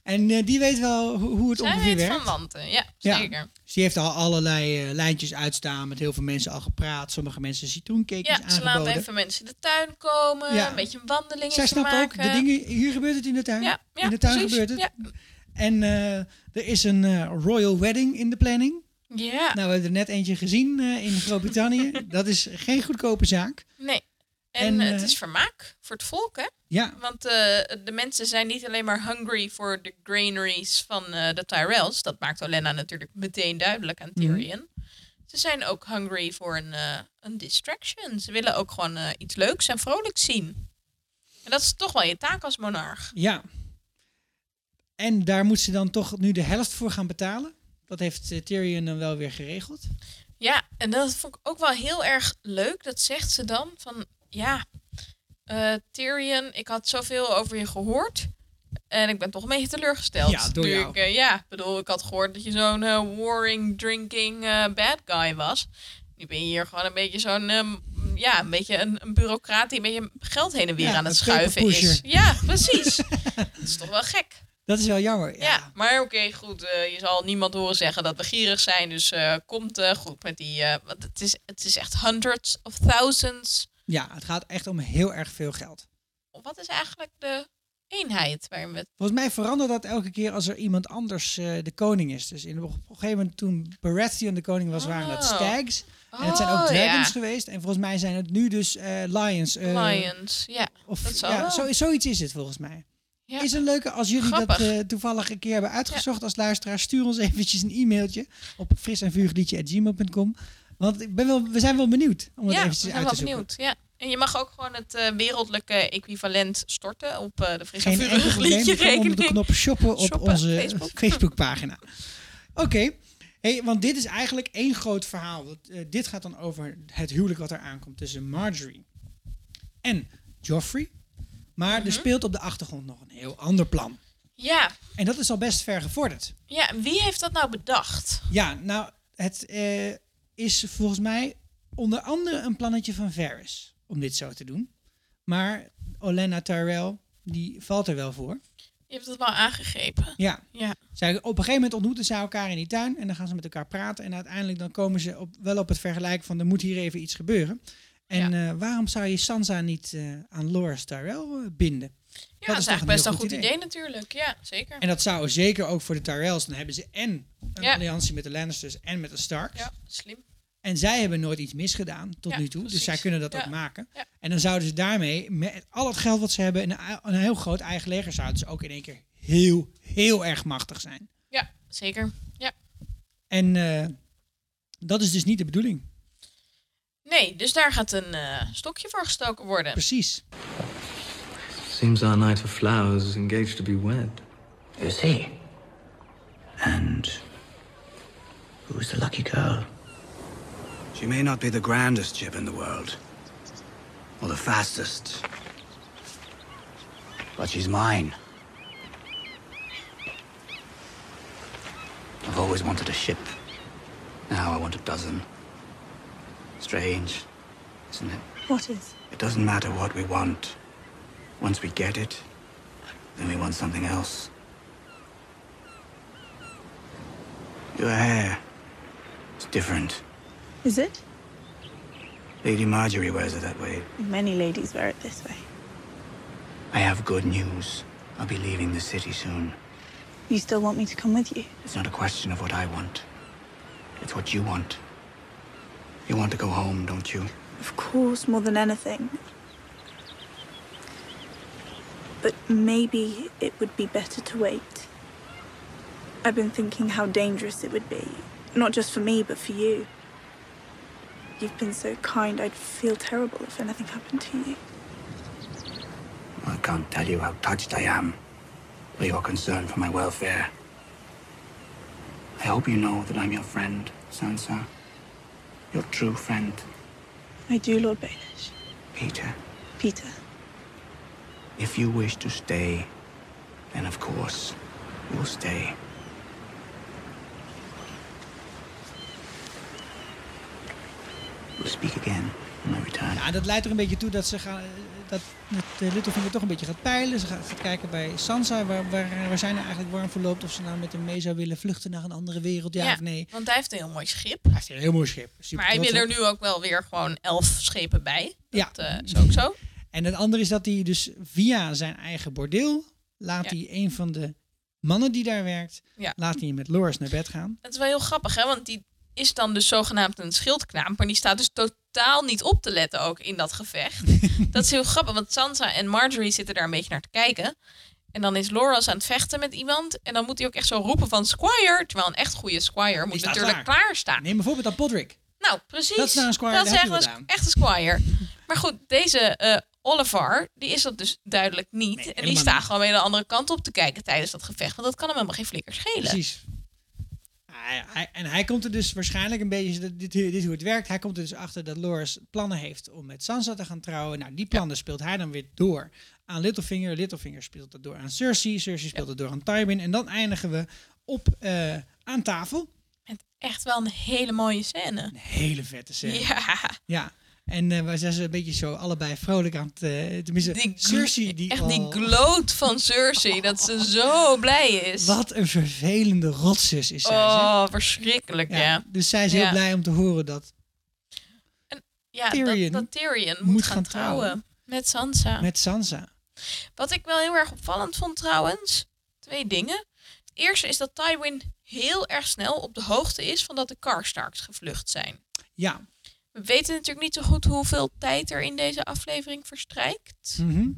En eh, die weet wel ho- hoe het
Zij
ongeveer
weet
werkt.
van wanten. Ja,
Ja.
zeker.
Dus die heeft al allerlei eh, lijntjes uitstaan, met heel veel mensen al gepraat. Sommige mensen citroencakejes
Ja, ze laat
aangeboden.
even mensen de tuin komen.
Ja.
Een beetje een wandeling
Zij snapt
maken.
ook, de dingen, hier gebeurt het in de tuin.
Ja, ja,
in de tuin
precies.
gebeurt het.
Ja.
En eh, er is een eh, royal wedding in de planning.
Ja,
Nou, we hebben er net eentje gezien eh, in Groot-Brittannië. dat is geen goedkope zaak.
nee.
En,
En, het
eh,
is vermaak voor het volk, hè?
Ja,
Want eh, de mensen zijn niet alleen maar hungry voor de granaries van eh, de Tyrells. Dat maakt Olenna natuurlijk meteen duidelijk aan
Mhm.
Tyrion. Ze zijn ook hungry voor een, eh, een distraction. Ze willen ook gewoon eh, iets leuks en vrolijks zien. En dat is toch wel je taak als monarch.
ja. En daar moet ze dan toch nu de helft voor gaan betalen. Dat heeft eh, Tyrion dan wel weer geregeld.
Ja, en dat vond ik ook wel heel erg leuk. Dat zegt ze dan van ja, eh, Tyrion, ik had zoveel over je gehoord. En ik ben toch een beetje teleurgesteld.
Ja, door
Nu
jou.
Ik, eh, ja, ik bedoel, ik had gehoord dat je zo'n eh, warring, drinking eh, bad guy was. Nu ben je hier gewoon een beetje zo'n, ehm, ja, een beetje een, een bureaucraat die een beetje geld heen en weer
Ja,
aan het
een
schuiven is.
peperpoesje.
Ja, precies. [LAUGHS] dat is toch wel gek.
Dat is wel jammer.
Ja,
Ja,
maar oké, goed. eh, je zal niemand horen zeggen dat we gierig zijn. Dus eh, komt eh, goed met die. eh, want het is, het is echt hundreds of thousands.
Ja, het gaat echt om heel erg veel geld.
Wat is eigenlijk de eenheid waarin we.
Volgens mij verandert dat elke keer als er iemand anders eh, de koning is. Dus in, op een gegeven moment toen Baratheon de koning was, waren dat
Oh.
stags. en het zijn ook dragons
ja.
geweest. En volgens mij zijn het nu dus eh, lions. eh,
Lions, ja.
Of,
Dat zal
ja,
wel.
zo, zoiets is het volgens mij.
Ja.
Is een leuke, als jullie dat
Grappig.
eh, toevallig een keer hebben uitgezocht als luisteraar, stuur ons eventjes een e-mailtje op frisenvuurgliedje.gmail.com. Want ik ben wel, we zijn wel benieuwd om het
ja,
eventjes
ben
uit te
wel
zoeken.
benieuwd. Ja. En je mag ook gewoon het eh, wereldlijke equivalent storten op eh, de frisse
Geen enkel
vurige
probleem,
liedje
gewoon onder de
rekening.
knop shoppen op
Shoppen,
onze
Facebook.
Facebookpagina. Oké, hey, want dit is eigenlijk één groot verhaal. Want, eh, dit gaat dan over het huwelijk wat er aankomt tussen Marjorie en Joffrey. Maar
Mhm.
er speelt op de achtergrond nog een heel ander plan.
Ja.
En dat is al best ver gevorderd.
ja, en wie heeft dat nou bedacht?
Ja, nou, het eh, is volgens mij onder andere een plannetje van Varys om dit zo te doen. Maar Olenna Tyrell, die valt er wel voor.
Je hebt het wel aangegrepen.
Ja,
Ja.
zij, op een gegeven moment ontmoeten zij elkaar in die tuin en dan gaan ze met elkaar praten. En uiteindelijk dan komen ze op, wel op het vergelijken van er moet hier even iets gebeuren. En eh, waarom zou je Sansa niet eh, aan Loras Tyrell eh, binden?
Ja,
Dat
dat
is
is
toch een
eigenlijk best
heel
een
goed
goed
idee.
idee. natuurlijk. Ja, zeker.
En dat zou zeker ook voor de Tyrells, dan hebben ze en een
Ja.
alliantie met de Lannisters en met de Starks.
Ja, slim.
En zij hebben nooit iets misgedaan tot
Ja,
nu toe. Dus
precies.
zij kunnen dat
Ja.
ook maken.
Ja.
En dan zouden ze daarmee, met al het geld wat ze hebben, en een, een heel groot eigen leger, zouden ze ook in één keer heel, heel erg machtig zijn.
Ja, zeker. Ja.
En eh, dat is dus niet de bedoeling.
Nee, dus daar gaat een eh, stokje voor gestoken worden.
Precies.
Seems our night for flowers is engaged to be wed.
Who's he? And who's the lucky girl?
She may not be the grandest ship in the world, or the fastest, but she's mine. I've always wanted a ship. Now I want a dozen. Strange, isn't it?
What is?
It doesn't matter what we want. Once we get it, then we want something else. Your hair. It's different.
Is it?
Lady Marjorie wears it that way.
Many ladies wear it this way.
I have good news. I'll be leaving the city soon.
You still want me to come with you?
It's not a question of what I want. It's what you want. You want to go home, don't you?
Of course, more than anything. But maybe it would be better to wait. I've been thinking how dangerous it would be, not just for me, but for you. You've been so kind, I'd feel terrible if anything happened to you.
I can't tell you how touched I am by your concern for my welfare. I hope you know that I'm your friend, Sansa. Your true friend,
I do, Lord Baelish.
Peter.
Peter,
If you wish to stay, then of course you'll stay. We'll speak again when I return.
Ja, dat leidt er een beetje toe dat ze gaan, dat dat, eh, Littlefinger toch een beetje gaat peilen. Ze gaat gaat kijken bij Sansa waar, waar, waar zij nou eigenlijk warm voor loopt. Of ze nou met hem mee zou willen vluchten naar een andere wereld, ja, of nee.
Want hij heeft een heel mooi schip.
Hij heeft een heel mooi schip. Super
Maar hij
trots
wil er
op.
nu ook wel weer gewoon elf schepen bij.
Ja.
Dat eh, is ook zo.
En het andere is dat hij dus via zijn eigen bordeel laat
Ja.
hij een van de mannen die daar werkt,
Ja.
laat hij met Loris naar bed gaan.
Het is wel heel grappig, hè? Want die is dan dus zogenaamd een schildknaap. Maar die staat dus totaal niet op te letten ook in dat gevecht.
[LAUGHS]
dat is heel grappig, want Sansa en Marjorie zitten daar een beetje naar te kijken. En dan is Loras aan het vechten met iemand. En dan moet hij ook echt zo roepen van Squire. Terwijl een echt goede Squire moet
staat
natuurlijk
klaar.
klaarstaan.
Neem bijvoorbeeld aan Podrick.
Nou, precies.
Dat is nou een squire,
Dat
daar
is
heb je
echt
wat
een,
aan.
echt een squire. maar goed, deze eh, Oliver, die is dat dus duidelijk niet. en die
helemaal
staat
niet.
gewoon weer de andere kant op te kijken tijdens dat gevecht. Want dat kan hem helemaal geen flikker schelen.
Precies. Hij, hij- en hij komt er dus waarschijnlijk een beetje, dit, dit is hoe het werkt, hij komt er dus achter dat Loris plannen heeft om met Sansa te gaan trouwen. Nou, die plannen speelt hij dan weer door aan Littlefinger. Littlefinger speelt dat door aan Cersei. Cersei speelt dat door aan Tywin. En dan eindigen we op eh, aan tafel.
Met echt wel een hele mooie scène.
Een hele vette scène.
Ja,
Ja. En eh wij zijn ze een beetje zo allebei vrolijk aan het... eh, tenminste,
die gl-
Cersei die
echt
al...
die gloat van Cersei, dat ze zo blij is.
Wat een vervelende rotzus is zij. zeg.
Oh, verschrikkelijk, ja.
Ja,
ja.
Dus zij is heel
Ja. Ah.
blij om te horen dat Tyrion
dat, dat Tyrion moet,
moet
gaan,
gaan
trouwen.
trouwen.
Met Sansa.
met Sansa.
Wat ik wel heel erg opvallend vond trouwens, twee dingen. Het eerste is dat Tywin heel erg snel op de hoogte is van dat de Karstarks gevlucht zijn.
Ja.
We weten natuurlijk niet zo goed hoeveel tijd er in deze aflevering verstrijkt.
mhm.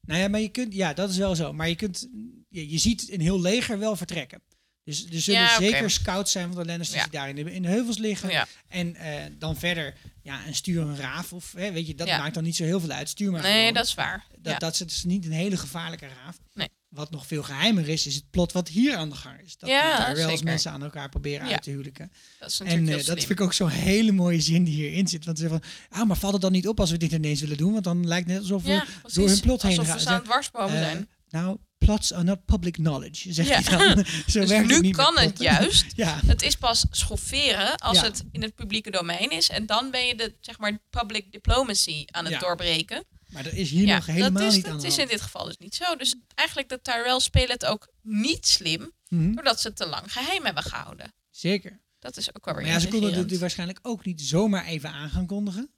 Nou ja, maar je kunt... Ja, dat is wel zo. Maar je kunt... Je, je ziet een heel leger wel vertrekken. Dus er zullen
Ja, oké.
zeker scouts zijn van de Lannisters
Ja.
die daar in de, in de heuvels liggen.
Ja.
En eh, dan verder, ja, en stuur een raaf of... Hè, weet je, dat
Ja.
maakt dan niet zo heel veel uit. Stuur maar
Nee,
gewoon.
dat is waar.
Dat,
Ja.
dat is dus niet een hele gevaarlijke raaf.
Nee.
Wat nog veel geheimer is, is het plot wat hier aan de gang is. Dat
Ja,
daar wel eens
zeker.
mensen aan elkaar proberen
Ja.
uit te huwelijken.
Dat is
En
natuurlijk
eh,
heel
dat
slim.
vind ik ook zo'n hele mooie zin die hierin zit. Want ze zeggen van, ah, maar valt het dan niet op als we dit ineens willen doen? Want dan lijkt het net alsof we
ja, precies.
door hun plot heen
Alsof
gaan.
we ze aan het dwarsbomen
Eh,
zijn.
nou, plots are not public knowledge, [LAUGHS] zegt
Ja.
hij
[LAUGHS]
dan. Zo
Dus
werkt het
nu
niet met
kan
[LAUGHS]
het
plotten.
juist.
ja,
Het is pas schofferen als
Ja.
het in het publieke domein is. En dan ben je de zeg maar, public diplomacy aan het
Ja.
doorbreken.
maar dat is hier nog helemaal
dat is,
niet
dat
aan de
is in
hand.
dit geval dus niet zo. Dus eigenlijk de Tyrell spelen het ook niet slim,
Mhm.
doordat ze het te lang geheim hebben gehouden.
Zeker.
Dat is ook wel weer
Maar ja, ze konden het
intrigerend.
natuurlijk waarschijnlijk ook niet zomaar even aan gaan kondigen.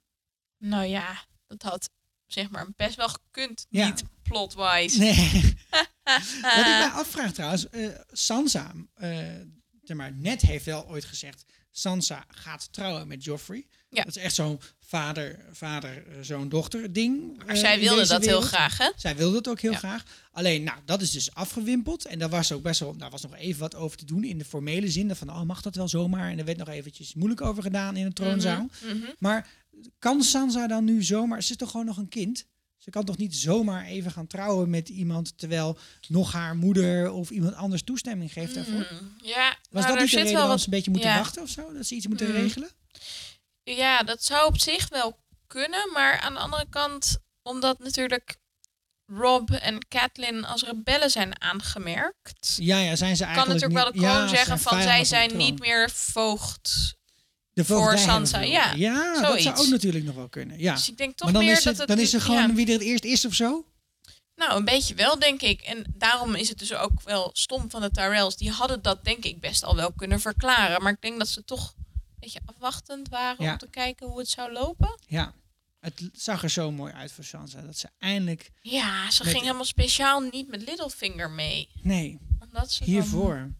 Nou ja, dat had zeg maar best wel gekund,
Ja.
niet plotwise.
Nee.
[LAUGHS] Ah,
Wat ik mij afvraag trouwens, eh, Sansa, eh, zeg maar, net heeft wel ooit gezegd, Sansa gaat trouwen met Joffrey.
Ja.
Dat is echt zo'n vader, vader, eh, zoon, dochter ding. eh,
maar zij wilde dat heel graag, hè?
Zij wilde het ook heel
Ja.
graag. Alleen, nou, dat is dus afgewimpeld. En daar was ook best wel, daar was nog even wat over te doen in de formele zin. Van, oh, mag dat wel zomaar? En er werd nog eventjes moeilijk over gedaan
Mhm,
in de troonzaal. Maar kan Sansa dan nu zomaar, ze is toch gewoon nog een kind? Ze kan toch niet zomaar even gaan trouwen met iemand terwijl nog haar moeder of iemand anders toestemming geeft daarvoor?
Ja,
Was
Mhm. nou,
dat
daar
niet de
zit
reden
wel
waarom
wat
ze een beetje moeten
ja.
wachten of zo? Dat ze iets moeten
Mm.
regelen?
Ja, dat zou op zich wel kunnen. Maar aan de andere kant, omdat natuurlijk Rob en Catelyn als rebellen zijn aangemerkt,
Ja, ja, zijn ze
kan
eigenlijk
natuurlijk wel de
niet-
kroon
ja, ze
zeggen van
vijanden
zij
de
zijn
troon.
niet meer voogd.
De
voor
voogdij hebben
Sansa,
we.
ja,
Ja, dat
zoiets.
zou ook natuurlijk nog wel kunnen. Ja.
Dus ik denk toch
maar dan
meer
is, het,
dat het... dus-
dan is er gewoon
ja.
wie er het eerst is of zo?
Nou, een beetje wel, denk ik. En daarom is het dus ook wel stom van de Tyrells. Die hadden dat, denk ik, best al wel kunnen verklaren. Maar ik denk dat ze toch een beetje afwachtend waren
Ja.
om te kijken hoe het zou lopen.
Ja. Het zag er zo mooi uit voor Sansa. Dat ze eindelijk...
Ja, ze
Met-
ging helemaal speciaal niet met Littlefinger mee.
Nee,
Omdat ze dan-
hiervoor.
Ja.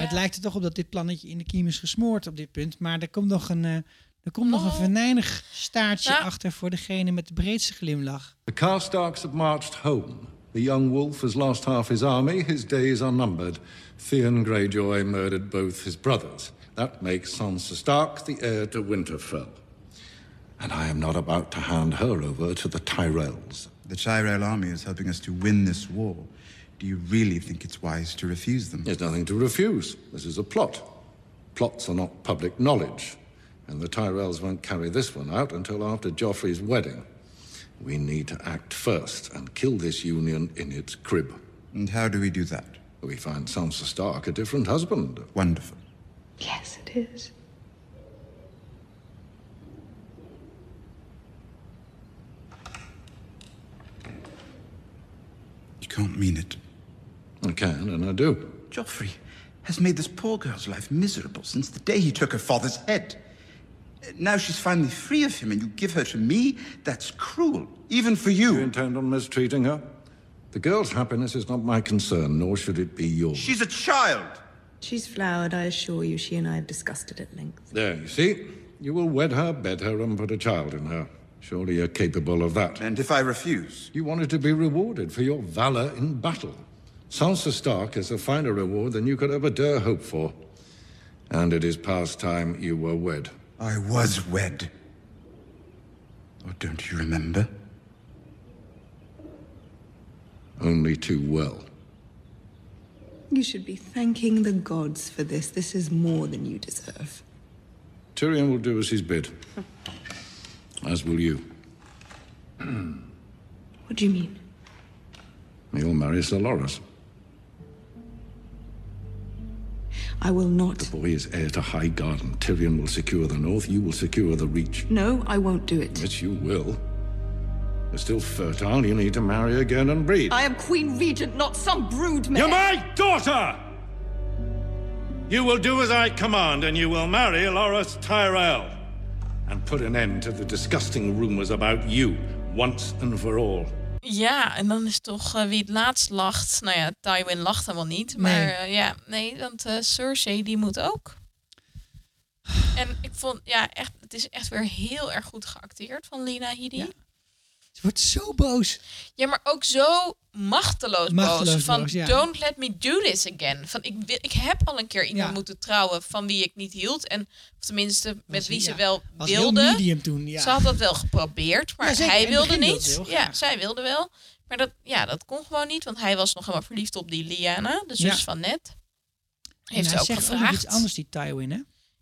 Maar het lijkt er toch op dat dit plannetje in de kiem is gesmoord op dit punt. Maar er komt nog een, eh, er komt nog
Oh.
een venijnig staartje
Ja.
achter voor degene met de breedste glimlach.
The Karstarks have marched home. The young wolf has lost half his army. His days are numbered. Theon Greyjoy murdered both his brothers. That makes Sansa Stark the heir to Winterfell. And I am not about to hand her over to the Tyrells.
The Tyrell army is helping us to win this war. Do you really think it's wise to refuse them?
There's nothing to refuse. This is a plot. Plots are not public knowledge. And the Tyrells won't carry this one out until after Joffrey's wedding. We need to act first and kill this union in its crib.
And how do we do that?
We find Sansa Stark a different husband.
Wonderful.
Yes, it is.
You can't mean it.
I can and I do.
Joffrey has made this poor girl's life miserable since the day he took her father's head. Now she's finally free of him, and you give her to me? That's cruel, even for
You
you.
intend on mistreating her? The girl's happiness is not my concern, nor should it be yours.
She's a child!
She's flowered, I assure you. She and I have discussed it at length.
There, you see? You will wed her, bed her, and put a child in her. Surely you're capable of that.
And if I refuse?
You wanted to be rewarded for your valor in battle. Sansa Stark is a finer reward than you could ever dare hope for. And it is past time you were wed.
I was wed. Oh, don't you remember?
Only too well.
You should be thanking the gods for this. This is more than you deserve.
Tyrion will do as he's [LAUGHS] bid, as will you.
What do you mean?
You'll marry Solaris.
I will not.
Boy is heir to High Garden. Tyrion will secure the north. You will secure the [LAUGHS] Reach.
No, I won't do it.
Yes, you will. You're still fertile. You need to marry again and breed.
I am Queen Regent, not some brood
You're my daughter!
You will do as I command, and you will marry Loras Tyrell. And put an end to the disgusting rumors about you once and for all.
Ja, en dan is toch eh, wie het laatst lacht. Nou ja, Tywin lacht helemaal niet. Maar
Nee.
eh, ja, nee, want eh, Cersei die moet ook. En ik vond, ja, echt, het is echt weer heel erg goed geacteerd van Lina Headey.
Ja.
Ja.
Ze wordt zo boos.
maar ook zo machteloos,
Machteloos
boos. Van
boos, ja.
don't let me do this again. Van ik, wil, ik heb al een keer iemand
Ja.
moeten trouwen van wie ik niet hield. En of tenminste met
Was-
wie ze
ja,
wel
was heel
wilde.
medium toen, ja.
Ze had dat wel geprobeerd, maar
Ja, zeker. In
hij
het
wilde
begin wilde ze
niet.
heel
Ja,
graag.
zij wilde wel. Maar dat, ja, dat kon gewoon niet, want hij was nog helemaal verliefd op die Liana, de zus
Ja.
van net.
En
Heeft
hij
ze ook
zegt
gevraagd.
nog iets anders, die Tywin, hè?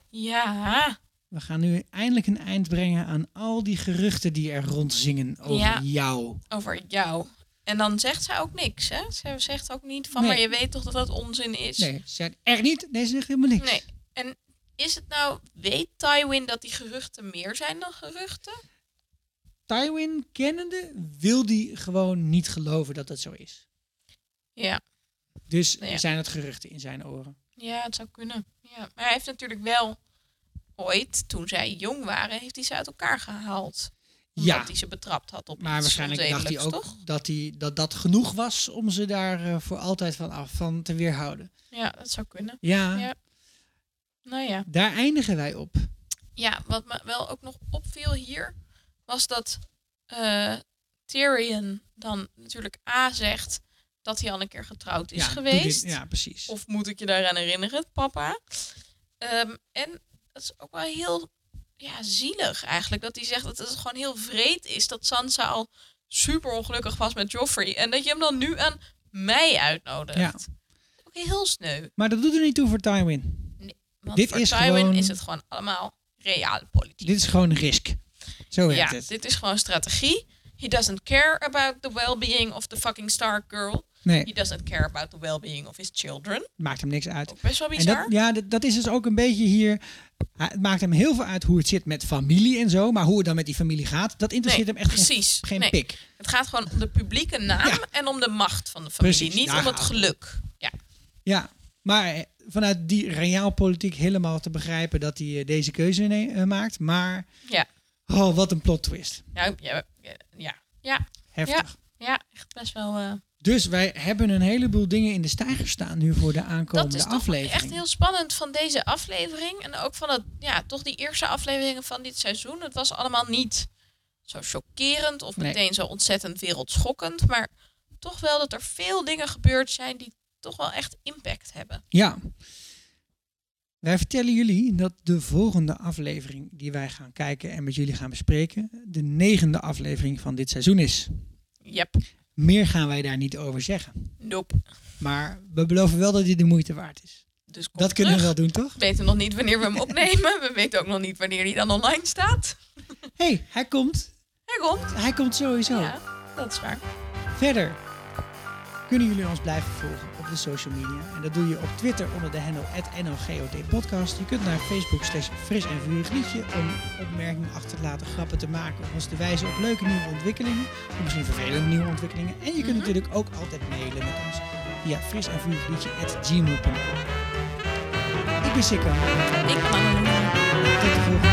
Ja,
We gaan nu eindelijk een eind brengen aan al die geruchten die er rondzingen over
Ja.
jou.
over jou. En dan zegt zij ook niks, hè? Ze zegt ook niet van,
Nee.
maar je weet toch dat dat onzin is?
Nee, ze zegt echt niet. Nee, ze zegt helemaal niks.
Nee. En is het nou, weet Tywin dat die geruchten meer zijn dan geruchten?
Tywin kennende wil die gewoon niet geloven dat dat zo is.
Ja.
Dus
Nou ja.
zijn het geruchten in zijn oren.
Ja, het zou kunnen. Ja. Maar hij heeft natuurlijk wel ooit, toen zij jong waren, heeft hij ze uit elkaar gehaald. Omdat
Ja.
hij ze betrapt had op
Maar
iets
waarschijnlijk dacht hij ook
onzedelijks, toch?
dat, hij, dat dat genoeg was om ze daar eh, voor altijd van af van te weerhouden.
Ja, dat zou kunnen.
Ja,
Ja. Nou ja.
daar eindigen wij op.
Ja, wat me wel ook nog opviel hier, was dat eh, Tyrion dan natuurlijk A zegt dat hij al een keer getrouwd is
ja, doe dit-
geweest.
ja, precies.
Of moet ik je daaraan herinneren, papa? Ehm, en dat is ook wel heel ja, zielig eigenlijk. Dat hij zegt dat het gewoon heel vreed is dat Sansa al super ongelukkig was met Joffrey. En dat je hem dan nu aan mij uitnodigt.
Ja.
Ook heel sneu.
maar dat doet er niet toe voor Tywin.
Want
Dit
voor
is
Tywin
gewoon-
is het gewoon allemaal reale politiek.
Dit is gewoon een risk. Zo werkt
ja,
het.
dit is gewoon strategie. He doesn't care about the well-being of the fucking Stark girl. He
Nee,
doesn't care about the well-being of his children.
maakt hem niks uit.
Ook Oh, best wel
En
bizar.
dat, ja, dat, dat is dus ook een beetje hier. Hij- Het maakt hem heel veel uit hoe het zit met familie en zo. Maar hoe het dan met die familie gaat, dat interesseert
Nee,
hem echt geen-
precies.
geen,
Nee.
pik.
Het gaat gewoon om de publieke naam
Ja.
en om de macht van de familie.
Precies,
niet
daar
om het
gaat het
geluk. Ja.
Ja, maar eh, vanuit die reaalpolitiek helemaal te begrijpen dat hij eh, deze keuze ne- eh, maakt. Maar
ja.
Oh, wat een plot twist.
Ja, ja, ja. ja.
Heftig.
Ja, ja, echt best wel. eh,
Dus wij hebben een heleboel dingen in de stijger staan nu voor de
dat
aankomende
is toch
aflevering.
echt heel spannend van deze aflevering. En ook van dat, ja, toch die eerste afleveringen van dit seizoen. Het was allemaal niet zo chockerend of
Nee.
meteen zo ontzettend wereldschokkend. Maar toch wel dat er veel dingen gebeurd zijn die toch wel echt impact hebben.
Ja. Wij vertellen jullie dat de volgende aflevering die wij gaan kijken en met jullie gaan bespreken, de negende aflevering van dit seizoen is.
Yep.
Meer gaan wij daar niet over zeggen.
Nope.
Maar we beloven wel dat dit de moeite waard is.
Dus kom
Dat kunnen we wel
terug.
doen, toch?
We weten nog niet wanneer we hem opnemen. We weten ook nog niet wanneer hij dan online staat.
Hé, hey, hij komt.
Hij komt.
Hij komt sowieso.
Ja, dat is waar.
Verder kunnen jullie ons blijven volgen op de social media. En dat doe je op Twitter onder de handle NOGODpodcast. Je kunt naar Facebook slash fris en vurig liedje om opmerkingen achter te laten, grappen te maken of ons te wijzen op leuke nieuwe ontwikkelingen. Of misschien vervelende nieuwe ontwikkelingen. En je kunt natuurlijk ook altijd mailen met ons via fris en vurig liedje at gmail.com. Ik ben Sikka.
Ik kan
Tot de volgende.